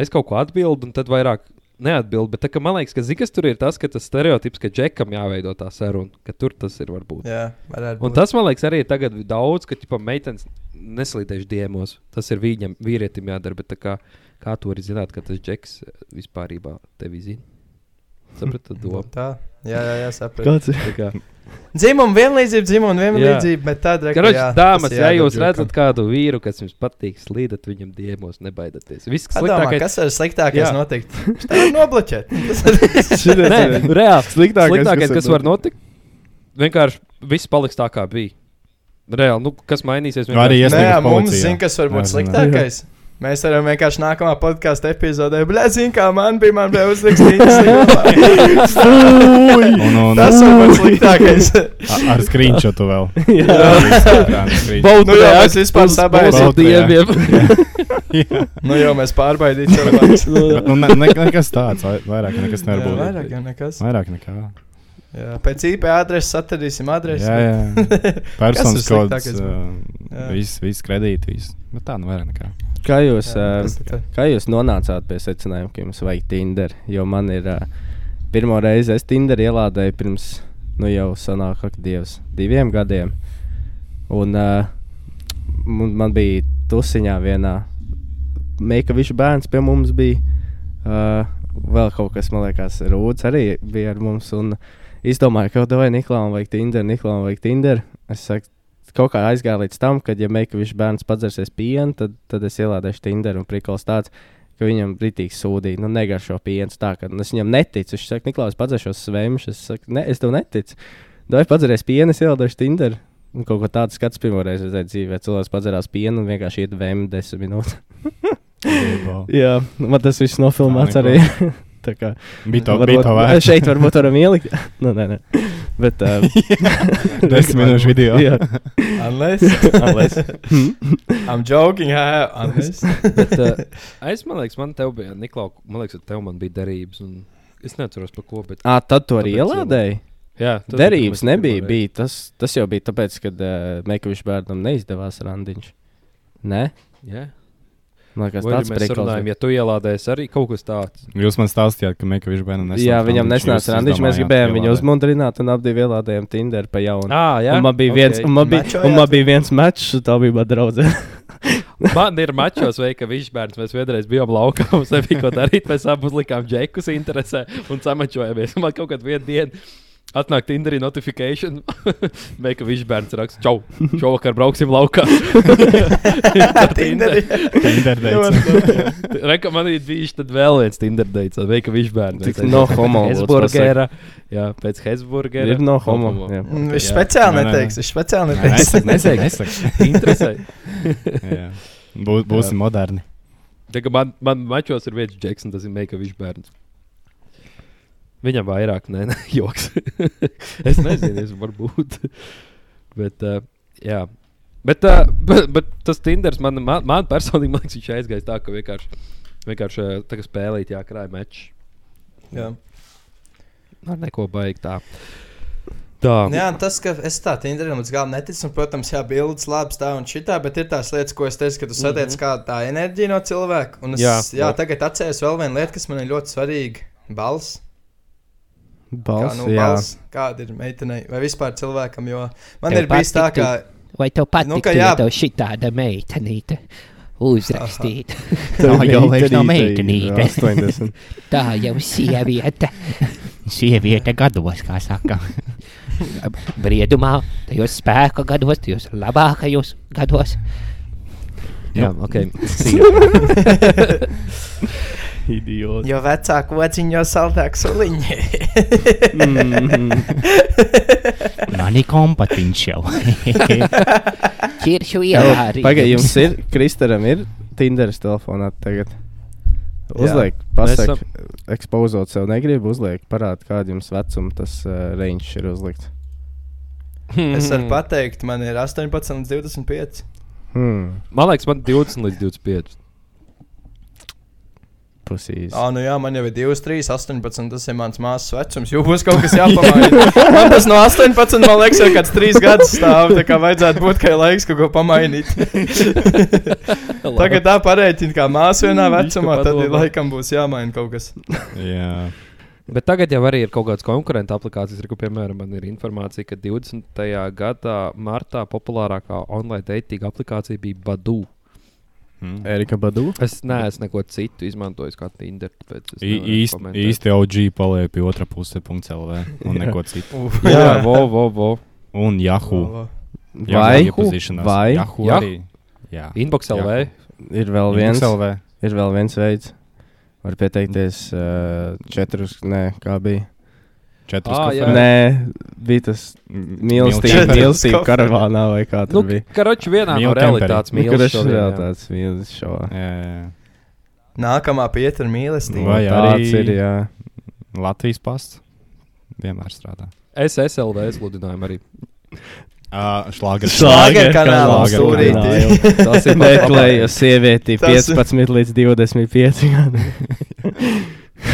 S1: es kaut ko atbildu, un tad vairāk neatbildu. Bet tā, kā man liekas, ka zikas tur ir tas, ka tas stereotips, ka džekam jāveido tā saruna, ka tur tas ir varbūt. Jā.
S5: Jā, varētu
S1: Un
S5: būt.
S1: tas, man liekas, arī ir tagad daudz, ka tipā meitenes neslīdējuši diemos. Tas ir viņam, vīrietim jādara. Bet tā kā, kā tu vari zināt, ka tas džeks eh, vispār tevi zina? Sapratu to.
S5: Tā. Jā, jā, jā saprotu.
S7: Kāds ir?
S1: Tā kā-
S5: Dzimuma vienlīdzība, dzimuma vienlīdzība, bet tad
S1: Karoči, dāmas, ja jūs redzat kādu vīru, kas jums patīk, slīdat viņam diemos, nebaidieties. Viss
S5: Sliktākais...
S1: sliktākais,
S5: Kas ir sliktākais
S1: Jā.
S5: notikt? Tā ir nobloķēt. Tas ir-
S1: Nē, reāli
S7: Sliktākais,
S1: sliktākais,
S7: kas
S1: kas
S7: var
S1: var notikt, vienkārši viss paliks tā, kā bija. Reāli, nu, kas mainīsies?
S4: Nu, arī
S1: vienkārši-
S4: es
S5: Nē, jā,
S4: negribu
S5: mums
S4: policijā.
S5: zina, kas var
S4: Jā,
S5: būt
S4: zinu.
S5: sliktākais. Mēs varam vienkārši nākamā podkāstu epizodē, bļā, zina, kā man bija, man bija uzrakstīts.
S4: Un, un,
S5: Tas var būt sliktākais.
S4: a- ar screenshotu vēl. Jā,
S5: Nu, jā, mēs vispār sabaidījām.
S4: Baudīt.
S5: Nu, jau mēs pārbaudījām cilvēku.
S4: nu, ne, ne, nekas tāds, vai- vairāk nekas nevar būt.
S5: Vairāk jau nekas.
S4: Vairāk nekā.
S5: Jā, pēc IP adreses atradīsim adresi.
S4: Jā, jā. Personas
S5: Kas ir
S4: kods,
S5: sliktākais? Jā.
S4: uh, viss, viss kredīt, viss. Bet tā, nu vairāk nekā.
S7: Kā jūs, uh,
S5: Jā,
S7: ā,
S5: tas ir tā.
S7: kā jūs nonācāt pie secinājuma, ka jums vajag Tinder? Jo man ir ā, pirmo reizi, es Tinder ielādēju pirms, nu jau sanāk, ak, Dievs, diviem gadiem. Un uh, man bija tusiņā vienā Meikaviča bērns pie mums bija. Uh, vēl kaut kas, man liekas, Rūds arī bija ar mums. Un izdomāju, ka tev vajag Niklauna vai Tinder, Niklauna vai Tinder. Es saku, kaut kā aizgāju līdz tam, kad ja Meikaviča bērns padzersies pienu, tad, tad es ielādēšu Tinder un prikals tāds. ka Viņam brīdīgi sūdīja, nu, negaršo pienu. Tā kā un es viņam neticu. Viņš saka, Niklaus, padzeršos svēmš. Es saku, ne, es tev neticu. Dai padzerēs pienu, es ielādēšu Tinder. Un kaut ko tādu skats pirmo reizi redzēju dzīvē. Cilvēks padzerās pienu un vienkārši iet vēm desmit minūtes.
S4: Bija
S7: Jā, nu, man tas viss nofilmēts
S4: Tā
S7: arī. Tā kā
S4: to, bija to
S7: varbūt,
S4: vērts.
S7: šeit varbūt varam ielikt. nu, nē, nē. Bet, uh,
S4: Desmit minūšu video.
S7: Jā,
S5: Unless.
S7: Unless.
S5: I'm joking, jā, jā, unless.
S1: Bet, uh, es domāju, ka man te bija Niklaus, man liekas, ar tevi man bija derības. un Es neatceros, par ko. Bet,
S7: à, tad to arī
S1: Tāpēc
S7: ielādēji.
S1: jā, tas bija,
S7: Derības
S1: kad mēs
S7: nebija.
S1: pirmo reizi-
S7: Bija, tas, tas jau bija tāpēc, ka uh, Mekovičs bērnam neizdevās randiņš. Nē,
S1: Jā,
S7: man liekas,
S1: Vai arī
S7: tāds
S1: mēs runājam,
S7: priekals.
S1: ja tu ielādējies arī kaut kas tāds.
S4: Jūs man stāstījāt, ka Mekovičs bērnam
S7: bija. Jā, viņam nesanāca randiņš. Mēs gribējām viņu
S4: uzmanīt.
S7: uzmundrināt un abi ielādējām Tinder pa jaunu.
S1: Ah, jā,
S7: Un man bija viens,
S1: ok.
S7: un man bija,
S5: Mačojāt?
S7: un man bija viens mačs, un tā bija mana draudzene.
S1: Man ir mačos, vai ka viņš bērns, mēs vienreiz bijām laukā, mums nebija ko darīt, mēs abi uzlikām džekus interesē un samačojāmies. Man kaut kādā vienā dienā atnāk Tinderī notifikācija, ka viņš bērns raksta, čau, šovakar brauksim laukā.
S5: Tinderī.
S1: Reikam, man ir bijis tad vēl viens Tinder deits, vai ka viņš bērns.
S7: Tik no homo, lūdzu,
S1: Hesburgera. Jā, pēc Hesburgera.
S7: Ir no homo. jā.
S5: Mm, Viņš
S1: Jā.
S5: speciāli
S4: Nē, nē,
S5: neteiks,
S4: nē.
S5: viņš speciāli neteiks.
S4: Nesaka, nesaka,
S1: Interesē.
S4: nesaka. Būs, būsim moderni.
S1: Tā kā man, man mačos ir viens džeks, un tas ir Meikavičs bērns. Viņam vairāk, nē, nē joks. es nezinu, es varbūt. bet, uh, jā. Bet, uh, bet, bet tas Tinders man, man, man personīgi man liekas, viņš aizgājis tā, ka vienkārši, vienkārši ā, tā kā spēlīt, jākrāj mečs.
S5: Jā.
S1: Ar neko baigt tā. Tā.
S5: Jā, un tas, ka es tā Tinderam līdz galam neticu, un, protams, jā, bildes labs tā un šitā, bet ir tās lietas, ko es teicu, ka tu satiec mm -hmm. kādu tā enerģiju no cilvēka. Un es, jā,
S1: Jā,
S5: jā,
S1: jā.
S5: tagad atceros vēl vienu lietu, kas man ir ļoti svarīga - balss. Kā,
S7: Balss,
S5: nu,
S7: jā.
S5: balss, kāda ir meitenei vai vispār cilvēkam, jo man
S8: Tev
S5: ir bijis tā,
S8: patiktu?
S5: ka
S8: Vai tev patīk,
S5: Nu,
S8: nu,
S5: ka
S8: ka ja
S5: jā.
S8: tev šī tāda meitenīte uzrakstīta?
S7: Tā
S8: Tā jau vairs nav
S7: meitenīte ir 80.
S8: meitenīte. Tā jau sieviete. Sieviete gados, kā saka. Briedumā, tajos spēka gados, tajos labākajos gados.
S1: jā, ok.
S7: Idioti.
S5: jo vecāku veciņu, jo saltāku soliņu.
S7: Mm.
S8: Mani kompatiņš jau. Čiršu ielā arī.
S7: Pagaidiet, jums ir Kristēram, ir Tinderis telefonā tagad. Uzliek,
S1: Mēs
S7: pasak, ekspozot sev negribu, uzliek, parād, kāda jums vecuma tas uh, range ir uzlikts.
S5: es varu pateikt, man ir 18 līdz 25.
S7: Hmm,
S1: Man liekas, man 20 līdz 25.
S7: pusīs.
S5: Ah, nu jā, man jau ir 2, 3, 18. Tas ir mans māsas vecums. Jūs būs kaut kas jāpamaina. Man tas no 18, man liekas, jau kāds 3 gadus stāv. Tā kā vajadzētu būt, ka ir laiks kaut ko pamainīt. Tagad tā pareiķina, kā māsas vienā vecumā, tad ir laikam būs jāmaina kaut kas.
S4: Jā,
S1: Bet tagad jau arī ir kaut kādas konkurenta aplikācijas, ir, kur, piemēram, man ir informācija, ka 20. gadā martā populārākā online dating aplikācija bija Badu.
S4: Hm.
S7: Erika Badu.
S1: Es neesmu neko citu izmantojis, kā Tinder. tāpēc es
S4: I-
S1: nevaru
S4: īsti
S1: komentēt.
S4: īsti OG paliek pie otra puse, punkts LV un neko citu.
S1: Jā, vo, vo, vo.
S4: Un Yahoo.
S7: Vai, vai
S4: Yahoo
S1: Jā.
S4: arī. Jā.
S1: Inbox LV.
S7: ir vēl
S4: Inbox
S7: viens,
S4: LV.
S7: ir vēl viens veids. Var pieteikties uh, četrus, nē, kā bija.
S4: Četrus
S1: Ā,
S4: kafejnīcas.
S1: Jā.
S7: Nē, bija tas mīlestības,
S4: Četras
S7: mīlestības
S5: koferi.
S7: karavānā vai kā
S1: Nu,
S7: tur bija.
S1: karoči vienā no
S4: Mīlu
S1: realitātes
S7: Nu, kad es
S1: mīlestības.
S7: vēl tāds mīlestības šovā.
S4: Jā, jā,
S5: Nākamā pieta ir
S4: jā.
S5: mīlestība.
S4: Vai
S7: Nu, tāds
S4: arī
S7: ir, jā.
S4: Latvijas pasts vienmēr strādā.
S1: Es SLV sludinājumu arī.
S4: Uh, šlāgeri.
S5: Šlāgeru kanālā
S4: kanālā.
S5: stūrītī.
S1: Tas ir
S7: Meklēju sievieti
S5: Tas ir-
S7: 15 līdz 25 gadiem.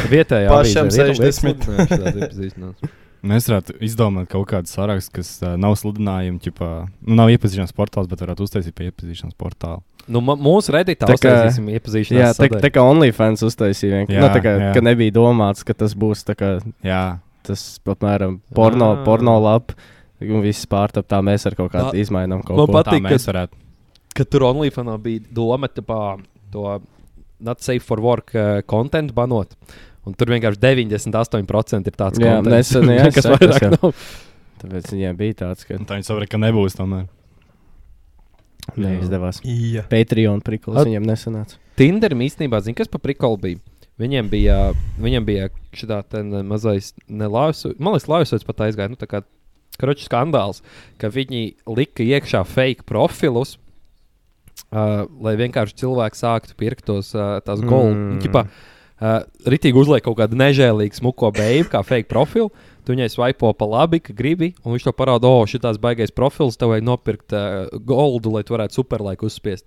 S1: Vietējā
S5: Pašam
S1: avīzē ir
S5: 60.
S1: lietas sludinājums, tāds iepazīstinās.
S4: Mēs Nu, varētu izdomāt kaut kādu sarakstu, kas uh, nav sludinājumi, ķipā, nu, nav iepazīšanās portāls, bet varētu uztaisīt pie iepazīšanās portāla.
S1: Nu, ma- mūsu redītā
S7: Tā kā-
S1: uztaisīsim iepazīšanās.
S7: Jā, tā,
S1: sadaļu.
S7: tā kā OnlyFans uztaisīja vienkārši.
S4: Jā,
S7: Nu, tā kā
S4: jā.
S7: ka nebija domāts, ka tas būs tā kā
S4: Jā,
S7: tas, apmēram, porno,
S1: Ah.
S7: porno lapa. Un viss pārtap, tā mēs ar kaut
S1: Man-
S7: kādu izmainām
S1: man
S7: kaut ko.
S1: pat-
S4: tā
S1: Patīk,
S4: mēs varētu.
S1: ka tur OnlyFans bija doma par to not safe for work uh, content banot. Un tur vienkārši 98% ir tāds,
S7: Jā,
S1: content,
S7: nesen, jā,
S1: kas
S7: sekas,
S1: vairāk
S7: jā.
S1: nav.
S7: Tāpēc viņiem bija tāds, ka
S4: Un Tā viņi saprata, ka nebūs tomēr.
S7: neizdevās.
S5: Jā.
S7: Patreon priklis
S1: At-
S7: viņiem nesanāca.
S1: Tinderim īstenībā, zini, kas par prikolu bija? Viņiem bija, viņiem bija šitā te ne- mazais nelausu, man liekas, lausots pat aizgāja, nu tā kā kroķis skandāls, ka viņi lika iekšā fake profilus. Uh, lai vienkārši cilvēki sāktu pirkt tos uh,
S7: Mm.
S1: golfus. Mm. Uh, Ritīgi uzliek kaut kādu nežēlīgu, smuko beigu, kā fake profilu. Tu viņai svaipo pa labi, ka gribi, un viņš to parāda, oh, šis baigais profils, tev vajag nopirkt uh, goldu, lai tu varētu superlaiku uzspiest.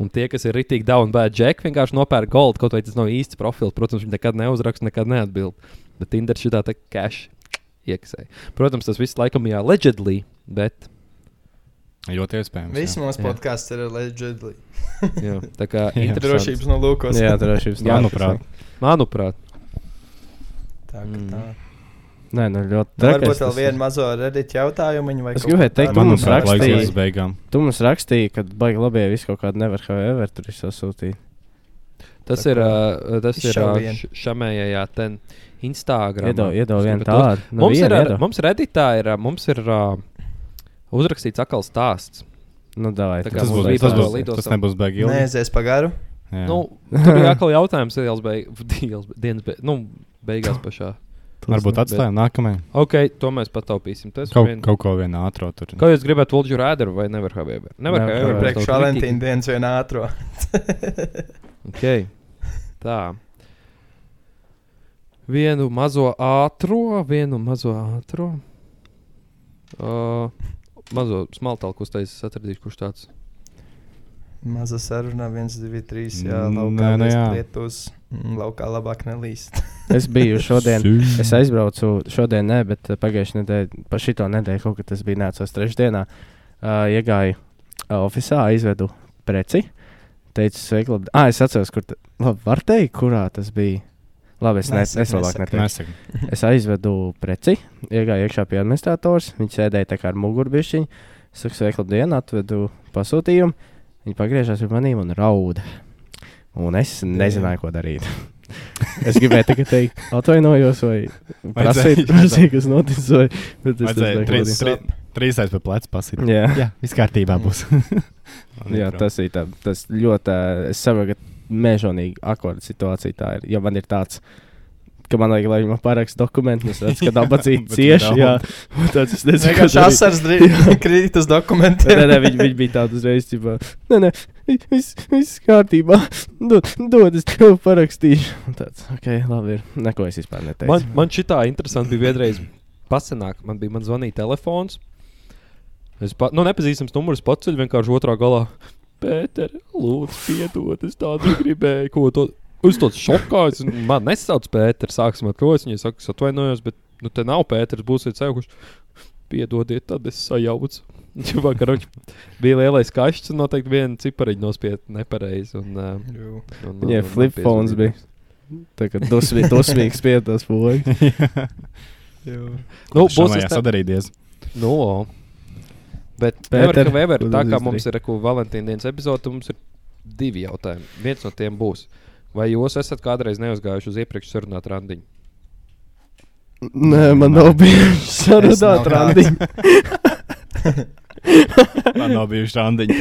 S1: Un tie, kas ir rītīgi down bad jack, vienkārši nopērk goldu, kaut vai tas nav īsts profils. Protams, viņi nekad neuzraksta, nekad neatbild. Bet Tinder šitā te cash iekasē. Protams, tas viss laikam jā, leģendly, bet
S4: Ļoti iespējams.
S5: Viss
S4: jā.
S5: mūsu
S1: Jā.
S5: podkāsts ir leģendāri.
S1: jā, tā kā
S4: Jā.
S1: interesants.
S5: Drošības nolūkos.
S7: Jā, drošības
S4: Jā,
S7: nāk,
S4: manuprāt.
S1: Manuprāt,
S5: tā
S1: Mm.
S5: ir tā.
S7: es- Nē, nu ļoti.
S5: Nu,
S7: trakais
S5: Varbūt vēl
S7: tas ir.
S5: vienu mazo redīt jautājumu. vai
S7: Es
S5: kaut
S7: gribēju
S5: ko
S7: teikt,
S5: tādu.
S7: tu mums
S4: Manuprāt, laiks
S7: rakstīji.
S4: iet uz beigām.
S7: Tu mums rakstīji, ka baigi labi, ja viss kaut kāda nevar however tur ir sasūtīt.
S1: tas
S7: Tā
S1: ir,
S5: kā
S1: uh, tas ir
S5: izšauj
S1: uh,
S5: vienu.
S1: š- šamējajā ten Instagram.
S7: Iedod, iedod vienu
S1: tādu.
S7: tādu. Nu,
S1: Mums,
S7: vienu
S1: ir ar-
S7: iedod.
S1: mums redītā ir, uh, mums ir uh, uzrakstīts atkal stāsts.
S7: Nu, dāvai.
S1: Tā kā
S4: Tas
S1: mums
S4: būs,
S1: bija
S4: tas
S1: par
S4: būs,
S1: lidostām.
S4: tas nebūs beigām.
S5: Nē, aizies pagāru.
S1: Nu, tur bija atkal jautājums dielas beig- dielas be- dienas be- nu, beigās pašā.
S4: Varbūt atstājam nākamajai.
S1: Ok, to mēs pataupīsim. Tas
S4: Kaut,
S1: vien...
S4: kaut ko vienā ātrā tur.
S1: Kā jūs gribētu, Volģu rādu vai nevar havēbē? Nevar
S7: Never
S1: havēbē.
S7: have
S5: Priekš Valentīna dienas vienā ātrā.
S1: Ok, tā. Vienu mazo ātro, vienu mazo ātro. Uh, mazo smaltalku uztaisīs, atradīšu, kurš tāds.
S5: Maza saruna, 1, 2, 3. Jā,
S4: Nē,
S5: laukā
S4: nu
S5: nē,
S4: jā.
S5: jā. lietus. Mm, Laukā labāk nelīst.
S7: Es biju šodien.
S4: Sī.
S7: Es aizbraucu šodien, ne, bet eh, pagājušajā nedēļā, pa šito nedēļu, kaut kad tas bija nācās trešdienā, uh, iegāju uh, oficiālā, aizvedu preci. Teicu, sveiki, labi. Ah, es atceros, kur. ta- Labi, var teikt, kurā tas bija. Labi, es, ne,
S5: Nesaki,
S7: es labāk
S5: nesaki.
S7: neteikšu.
S4: Nesaki.
S7: Es aizvedu preci, iegāju iekšā pie administrators. Viņš sēdēja tā kā ar mugurbišķiņu. Es saku, sveiki, labdien, atvedu pasūtījumu. Viņa pagriežās pie maniem un rauda. Un es nezināju, ko darīt. es gribēju tikai teikt, atvainojos, vai prasīt,
S4: Vajadzēja-
S7: prasīt, kas noticis. Vai, bet es
S4: Vajadzēja
S7: nezināju, ko
S4: trīs-
S7: darīt.
S4: trī- Trīs aiz pie pleca pasīt.
S7: Jā.
S4: Jā, viss kārtībā būs. Un
S7: Jā,
S4: ieprom.
S7: tas ir tā, tas ļoti. ā, Es saprotu, ka mežonīgi akorda situācija tā ir. Ja man ir tāds, ka man vajag, lai viņi man paraksta dokumentus, tad es redzu, ka
S4: bet
S7: dabacīja
S4: tu
S7: cieši.
S4: daudz.
S7: Jā, Un tāds es nezinu,
S5: Vienkārši
S7: kas
S5: asars drīz krīt uz dokumentiem.
S7: Nē, nē, viņi, viņi bija tādi uzreiz, ka, nē, nē, vi- viss, viss kārtībā. Dod, dod es tev parakstīšu. Un Tāds, ok, labi, ir. Neko es vispār neteicu.
S1: Man, man šitā interesanti bija vienreiz pasenāk. Man bija man zvanīja telefons. Es pat, nu, nepazīstams numurs pats ceļš vienkārši otrā galā. Pēter, lūdzu, piedod, es tādu gribēju, ko to. Uz to šokā, es man nesauc Pēters, sāksim ar to. Es viņai saku, es atvainojos, bet nu, te nav Pēters, būsiet ceļš. Piedodiet, tad es sajaucu. Vakar bija lielais kašķis, un noteikti viena cipariņa nospieda nepareizi. un, uh,
S5: Jū.
S1: un- un-
S7: Viņai
S1: un
S7: flip phones
S1: nepiezvanīja.
S7: bija. Tā kā dusmī- dusmīgs pietās poļi.
S1: Nu, būs
S4: Šamajā
S1: tas
S4: sadarīties.
S1: No. Nu, Bet
S7: Pēter,
S1: Pēter, Weber,
S7: ko
S1: tā
S7: tu
S1: kā
S7: izdarīji?
S1: mums ir ko, Valentīna dienas epizode, tad mums ir divi jautājumi. Viens no tiem būs. Vai jūs esat kādreiz neuzgājuši uz iepriekš sarunātu randiņu?
S7: Nē, man nav bijuši
S5: Es nav
S7: sarunāt
S5: kāds.
S7: randiņu.
S4: Man nav bijuši randiņi.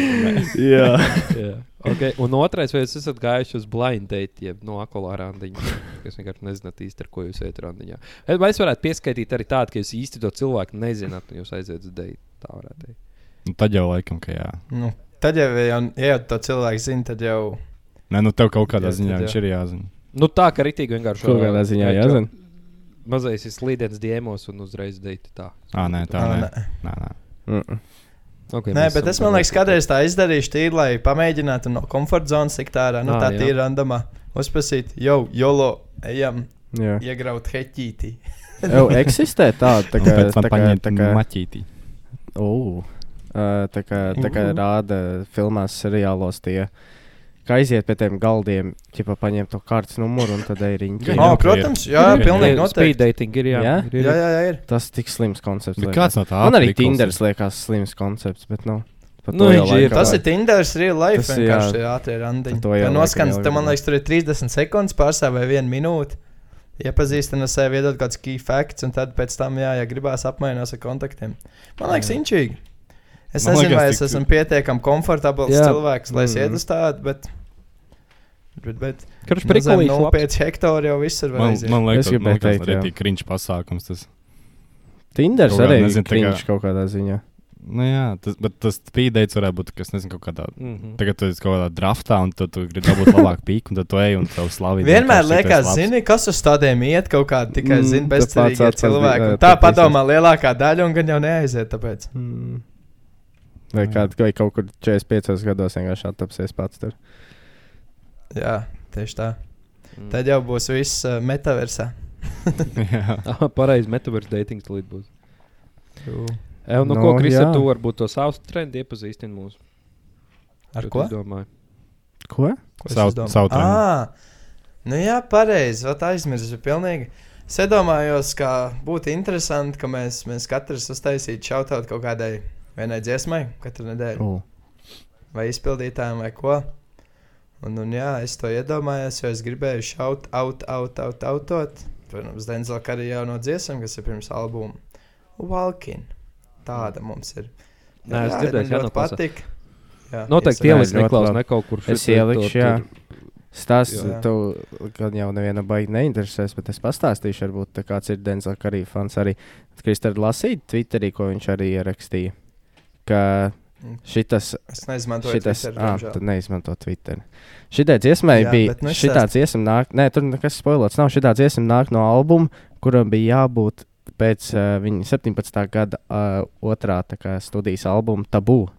S7: Jā,
S1: Jā. Okay. Un otrais, vai jūs esat gājuši uz blind date, jeb no akolā randiņa? Jūs vienkārši nezināt īsti, ar ko jūs ejat randiņā. Vai es varētu pieskaitīt arī tādu, ka jūs īsti to cilvēku nezināt, un jūs aiziet uz date? Tā varētu teikt.
S4: Nu, tad jau laikam, ka jā.
S5: Nu, tad jau, ja jau, ja jau to cilvēku zina, tad jau.
S4: Nē, nu tev kaut kādā
S5: Jā,
S4: jā, ziņā
S5: tad jā.
S4: viņš ir jāzina.
S1: Nu, tā kā rītīgi vienkārši.
S7: kaut kādā ziņā jāzina.
S1: Mazais ir slīdens diemos un uzreiz date. Tā.
S4: Ah, nē, tā
S5: Ā,
S4: nē.
S5: nē.
S4: nē, nē.
S7: Mm.
S1: Okay,
S5: Nē, bet es man liekas, kādreiz tā izdarīšu, tīri, lai pamēģinātu no komforta zonas tikt ārā. Nu,
S1: Ā,
S5: tā
S1: jā.
S5: tīri randomā. Uzprasīt, jau, jolo, ejam,
S7: Jā.
S5: iegraut heķītī.
S7: Jau eksistē tāda tā
S4: Un
S7: kā
S4: pēc tam
S7: tā kā
S4: paņemt
S7: tā kā
S4: maķītī.
S7: Ū. Ā, tā kā tā kā rāda filmās, seriālos tie. Kā aiziet pie tiem galdiem, tipā paņemt to kārtas numuru un tad ej riņķi.
S4: Jā,
S5: Oh,
S4: jā,
S5: protams, jā,
S4: Jā,
S5: pilnīgi
S1: Speed
S5: noteikti.
S1: dating ir jā.
S7: Jā?
S1: ir, ir,
S5: Jā, jā, jā, ir.
S7: Tas tik slims koncepts.
S4: Bet
S7: liekas.
S4: kāds no tā
S7: Man arī
S4: aplikos ir?
S7: Tinderis liekas slims koncepts, bet nu. par
S1: Nu,
S7: to jau
S1: viņš ir-
S7: laikam
S5: Tas
S7: vajag.
S5: ir Tinders, real life.
S7: Tas
S5: Tas
S7: ir,
S5: vienkārši
S7: jā.
S5: ir ātrie randiņi.
S7: Tad to jau
S5: Tā
S7: laikam
S5: noskans,
S7: jau
S5: tad man
S7: ir.
S5: liekas, tur ir 30 sekundes pārstāv vai 1 minūte. Iepazīstina sevi, iedod kāds key facts, un tad pēc tam, jā, ja gribās, apmainās ar kontaktiem. Man liekas, inčīgi. Es
S4: Man
S5: nezinu,
S4: liekas,
S5: vai es
S4: tik-
S5: esmu pietiekami komfortabls
S1: Jā.
S5: cilvēks, lai es
S7: Mhm.
S5: iet uz tādu, bet. Bet, bet nu,
S1: Kurš
S5: mazam
S1: prikolīgs?
S5: no
S1: labs.
S5: 5 hektāra jau viss ir
S4: Man,
S5: vajadzīgs.
S4: man
S7: Es
S4: liekas, tas
S7: gribēju
S4: ir
S7: teikt, jā.
S4: ļoti kriņš pasākums. Tas.
S7: Tinderis
S4: Kaut kā,
S7: arī ir
S4: nezinu, tā kā-
S7: kriņš kaut kādā ziņā.
S4: Nu, jā, tas, bet tas spīdēts varētu būt, kas nezinu, kaut kādā.
S1: Mhm.
S4: Tagad tu esi kaut kādā draftā, un tu, tu gribi dabūt labāku pīku, un tad tu ej un tev slavini.
S5: Vienmēr liekas, zini, kas uz tādiem iet, kaut kāda tikai
S7: Mm,
S5: zina,
S7: tā
S5: bezcerīga
S7: pats atsauc-
S5: cilvēka.
S7: jā,
S5: Un Tā
S7: tā tiesas.
S5: padomā lielākā daļa, un gan jau neaiziet, tāpēc.
S7: Mm. Vai,
S4: Jā.
S7: kād, vai kaut kur 45 gados vienkārši attapsies pats tur.
S5: Jā, tieši tā.
S1: Mm.
S5: Tad jau būs viss uh, metaversā.
S4: jā,
S1: Aha, Pareizi, metaverse datings līdz būs. E, un, no, no
S7: Nu,
S1: ko, Kristā,
S7: jā.
S1: tu varbūt to savus trendus iepazīstini mūs?
S5: Ar
S1: Tu
S5: ko?
S1: Domāju.
S7: Ko?
S5: Ko es
S4: savu,
S5: izdomāju?
S4: savu treniņu.
S5: Ā, nu jā, pareizi. Vat aizmirsu pilnīgi. Es iedomājos, ka būtu interesanti, ka mēs, mēs katrs uztaisītu šautaut kaut kādai vienai dziesmai katru nedēļu.
S4: Oh.
S5: Vai izpildītājiem vai ko. Un, un jā, es to iedomājos, jo es gribēju šaut, out, out, out, outot. Protams, Denzela arī jau no dziesmām, kas ir pirms albuma. Walking. Tāda mums ir.
S1: Nē, es dzirdēju,
S5: man
S1: jā,
S5: ļoti
S1: noklausās.
S5: patīk. Jā,
S1: Noteikti
S7: Instagram.
S1: ieliks
S7: Jā, ļoti
S1: neklaus
S7: labi.
S1: ne kaut kur.
S7: Es
S1: šeit,
S7: ielikšu,
S1: tur,
S7: jā.
S1: tur.
S7: Stāsts
S5: Jā.
S7: tev gan jau neviena baigi neinteresēs, bet es pastāstīšu, varbūt tā kāds ir Denzela Karī fans arī. Kristēns lasīja Twitterī, ko viņš arī ierakstīja. Ka šitas,
S5: Es neizmantoju
S7: šitas,
S5: Twitter,
S7: ā,
S5: diemžēl.
S7: tad neizmanto Twitter. Šitai dziesmai
S5: Jā,
S7: bija,
S5: bet nu es
S7: šitā dziesma nāk, nē, tur nekas spoilots nav, šitā dziesma nāk no albuma, kuram bija jābūt pēc uh, viņa 17. gada uh, otrā tā kā, studijas albuma tabū.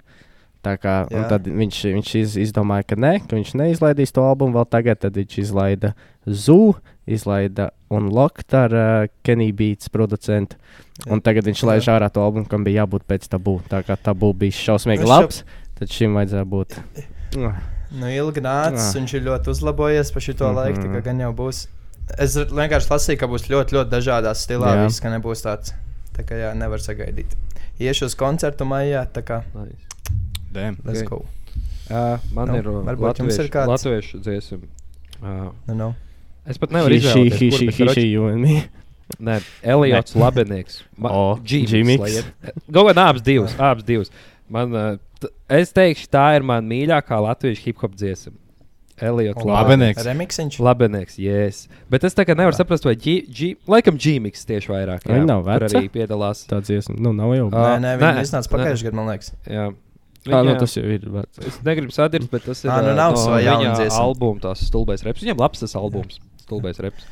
S7: Tā Kā, un
S5: Jā.
S7: tad viņš, viņš iz, izdomāja, ka, ne, ka viņš neizlaidīs to albumu vēl tagad. Tad viņš izlaida Zoo, izlaida Unlocked ar uh, Kenny Beats producentu.
S5: Jā.
S7: Un tagad viņš
S5: Jā.
S7: laiž ārā to albumu, kam bija jābūt pēc tabū. Tā kā tabū bija šausmīgi
S5: Es jau-
S7: labs, tad šim vajadzēja būt.
S5: Nu, ilgi nācis,
S7: Jā.
S5: viņš ir ļoti uzlabojies pa šo mm
S7: Mhm.
S5: -hmm. laiku, tā kā gan jau būs. Es r- vienkārši lasīju, ka būs ļoti, ļoti dažādās stilā.
S7: Jā.
S5: Jā. Viss, ka nebūs tāds, tā kā jā, nevar sagaidīt. Iešu uz koncertu maijā, tā kā
S1: Nice.
S4: Damn.
S5: let's
S1: Ok.
S5: go.
S1: Ā, Man
S5: Nu,
S1: ir uh,
S5: varbūt jums
S1: latviešu,
S5: ir kāds?
S1: latviešu dziesma. Uh,
S5: Nu, nu.
S1: es pat nevaru
S7: Hiši,
S1: izdarīt
S7: hiši, hiši, you and me.
S1: Nē, Eliods Labenieks.
S7: O, Džimiks.
S1: Džimiks. Galu galā abas divas. Abas divas. Man, uh, t- es teikšu, tā ir mana mīļākā latviešu hip hop dziesma. Eliods
S4: Labe-
S1: Labenieks.
S4: Labenieks.
S5: Remixiņš.
S1: Labenieks, yes. Bet es tā kā nevaru saprast, vai Dži- Dži- laikam Džimiks tieši vairāk.
S7: Viņa nav
S1: kur
S7: veca?
S1: arī piedalās.
S7: Tā dziesma, nu nav jau.
S1: Ā,
S5: Nē, nē,
S1: nē,
S5: viņi iznāca
S1: nē.
S5: pagājušajā gadā, man liekas.
S1: Jā.
S7: Tā, nu
S1: Viņai-
S7: tas jau ir. vec.
S1: Es negribu sadarboties, bet tas ir.
S5: Ā, nu
S1: ā,
S5: nav
S1: no
S5: sava jauna
S1: viņa
S5: dziesma.
S1: albuma, tās stulbais reps. Viņam labs tas albums, stulbais reps.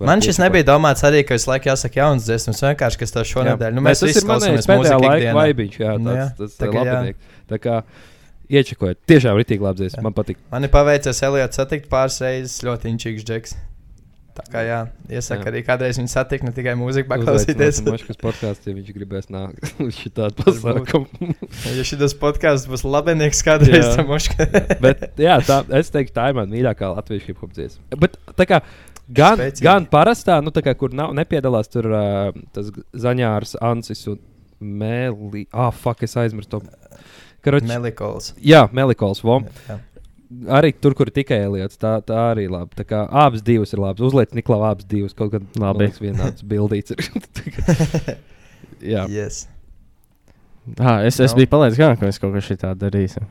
S1: Var
S5: Man šis
S1: piespēlēt.
S5: nebija domāts arī, ka visu laiku jāsaka jauns dziesmas, vienkārši kas tev šonadēļ. Nu,
S1: Nē,
S5: mēs
S1: tas
S5: visi
S1: ir manējais
S5: klausāmies
S1: pēdējā
S5: mūziku
S1: laika
S5: ikdienā.
S1: vibīņš, jā,
S5: Nu
S1: tāds,
S5: jā,
S1: tas
S5: tā
S1: ir
S5: kā jā.
S1: labinieks. Tā kā iečakojiet, tiešām ritīgi labi dziesma,
S5: Jā.
S1: man patīk.
S5: Man ir paveicies Eliots satikt pāris reizes, ļoti inčīgs džeks. Tā kā jā, iesaku
S1: Jā.
S5: arī kādreiz viņu satikt, ne tikai mūziku paklausīties.
S1: Maškas podkāsts, ja viņš gribēs nākt uz šitādu
S5: Varbūt.
S1: pasākumu.
S5: Ja šis podkāsts būs labāks,
S1: Jā.
S5: kādreiz tam moškā.
S1: Bet, jā, tā, es teiktu, tā ir mana mīļākā latviešu hip hop dziesma. Bet, tā kā, gan,
S5: Spēcīgi.
S1: gan parastā, nu, tā kā, kur nav, nepiedalās tur uh, tas g- zaņārs, ancis un mēlī. Ah, fuck, es aizmirsu to. Karoč,
S5: Melikols.
S1: jā, melikols. Vom.
S5: Jā.
S1: Arī tur, kur ir tikai Eliots, tā, tā arī ir labi. Tā kā abas divas ir labas. Uzliek Niklaus abas divas kaut kādā
S7: Labi.
S1: vienāds bildīts. ir. Tā kā- jā,
S5: Yes.
S7: Ah, es, es
S5: Nav.
S7: biju palaidis garām, ka mēs kaut ko tādu darīsim.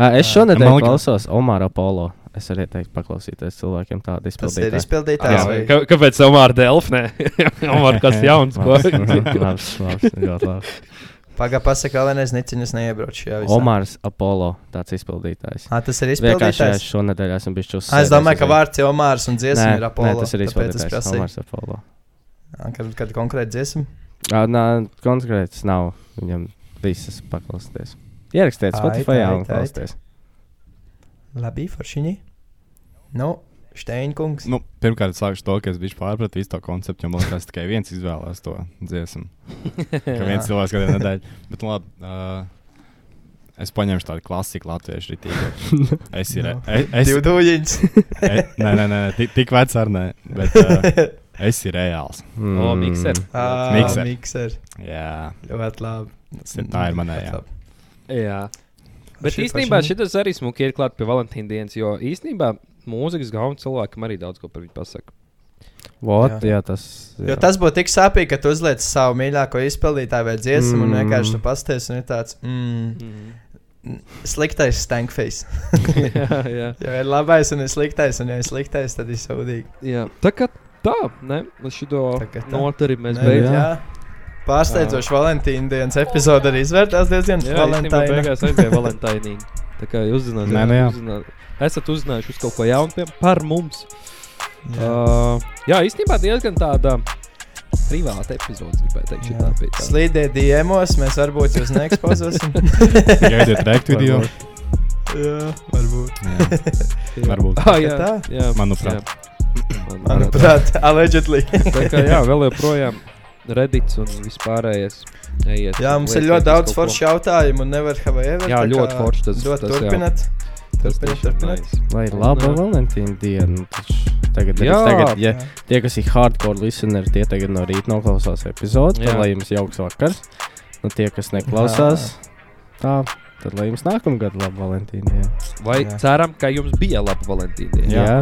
S7: Ah, es
S5: Jā.
S7: šonadēļ
S4: Man liekas-
S7: klausos Omara Polo. Es arī teiktu, paklausīties cilvēkiem tādu
S5: Tas ir
S7: izpildītāju.
S5: izpildītājs.
S1: Jā,
S5: vai-
S1: kā, kāpēc Omar Delfnē? Omar, kas jauns? ko?
S7: Labs, mhm, labs, labs, ļoti labs.
S5: Pagā pasaka, vēl vienreiz neciņas neiebrauc šajā visā.
S7: Omars Apollo, tāds izpildītājs.
S5: Ā, tas ir
S7: Vienkārši es
S5: izpildītājs.
S7: šonadēļ esmu bijis čūs.
S5: Ā, Es domāju, ka vārds ir Omārs un dziesma ir
S7: Nē,
S5: Apollo.
S7: tas ir
S5: tāpēc es
S7: izpildītājs.
S5: prasīju.
S7: Omars Apollo.
S5: Ā, Kad, kad konkrēti dziesma?
S7: Ah, nē, konkrēts nav. Viņam visas paklausīties. Ierakstiet
S5: Ai,
S7: Spotify
S5: tai,
S7: un
S5: tai,
S7: klausieties.
S5: Labi, Foršiņi. Nu, Šteinkungs.
S4: Nu, pirmkārt, sākšu to, ka es biju pārpratis visu to konceptu, jo man liekas, tikai viens izvēlējās to dziesmu. Kā viens cilvēks kādā nedēļā. Bet, nu, labi, uh, es paņemšu tādu klasiku latviešu rītību. Es ir.
S5: No.
S4: Es, es,
S5: Divu dūļiņas.
S4: e- nē, nē, nē, tik, tik vecs ar nē. Bet uh, es ir reāls.
S1: O,
S7: Mm.
S1: mikser.
S5: Ā,
S4: Mikser.
S5: Mikser.
S4: Jā,
S5: Ļoti labi.
S4: tas ir- tā ir
S5: Ļoti
S4: manējā.
S5: labi.
S1: Jā. Bet
S5: Šī
S1: īstenībā
S5: pašai-
S1: šis arī smuki ir klāts pie Valentīna dienas, jo īstenībā mūzikas gauna cilvēkam arī daudz ko par viņu pasaka.
S7: Vot, jā, tas.
S5: Jo tas būtu tik sāpīgi, ka tu uzliec savu mīļāko izpildītāju vai dziesmu, mm. un
S7: Mm.
S5: vienkārši tu pasties un ir tāds mm,
S1: Mm.
S5: sliktais stankfejs.
S1: jā, jā.
S5: Ja ir labais un ir sliktais, un ja ir sliktais, tad ir saudīgi.
S1: jā. Tā kā tā, ne? Uz šito
S5: Tā kā tā.
S1: notu arī mēs
S5: Nē,
S1: beidzam.
S5: jā. Pārsteidzoši Valentīna dienas epizode arī izvērtās diezgan
S1: Jā, īstenībā
S5: valentīna.
S1: beigās aizgāja Valentīna. Tā kā jūs zināt,
S4: Nē, nu jā.
S1: esat uzzinājuši uz kaut ko jaunu pie- par mums. Uh, jā, īstenībā diezgan tāda privāta epizode, gribētu teikt. šī
S5: Jā.
S1: tā bija tāda.
S5: Slīdiet diemos, mēs varbūt jūs neekspozosim.
S4: Gaidiet, rekt video.
S5: jā, varbūt.
S4: Jā, varbūt.
S1: Ah, jā,
S5: Tā?
S1: jā,
S4: Manuprāt.
S1: jā.
S5: Manuprāt, allegedly.
S1: Tā kā jā, vēl joprojām redīts un vispārējais. Ejiet,
S5: jā, mums ir
S1: lieciet
S5: ļoti
S1: uz
S5: daudz
S1: kaut ko.
S5: foršu jautājumu un nevar have ever.
S1: Jā,
S5: tā
S1: ļoti
S5: kā
S1: forši tas-
S5: ļoti
S1: tas jā.
S5: Turpināt.
S1: Tas
S5: Turpiniet,
S1: tiešām
S5: turpiniet.
S1: nice.
S7: Lai ir laba
S1: Jā.
S7: Valentīna diena. nu taču Tagad, arī-
S1: Jā.
S7: tagad, ja
S5: Jā.
S7: tie, kas ir hardcore listeneri, tie tagad no rīta noklausās epizodi,
S1: Jā.
S7: tad lai jums jauks vakars. Un tie, kas neklausās, tā, tad lai jums nākamgad laba Valentīna diena.
S1: Vai
S5: Jā.
S1: ceram, ka jums bija laba Valentīna diena?
S7: Jā.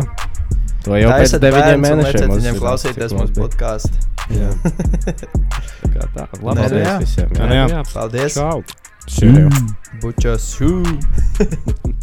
S7: To jau pēc
S5: esat
S7: deviņiem
S5: bērns un
S7: mēnešiem.
S5: lieciet
S7: mums
S5: Viņam
S7: zināt,
S5: klausīties
S7: cik
S5: mūsu
S7: labi.
S5: podkāstu.
S7: Jā.
S1: Tā kā tā, labi.
S5: Nē, nu jā.
S7: Paldies visiem.
S4: Jā, nu jā.
S1: jā.
S5: Paldies!
S1: Čau!
S7: Čau.
S5: Bučas! Hū!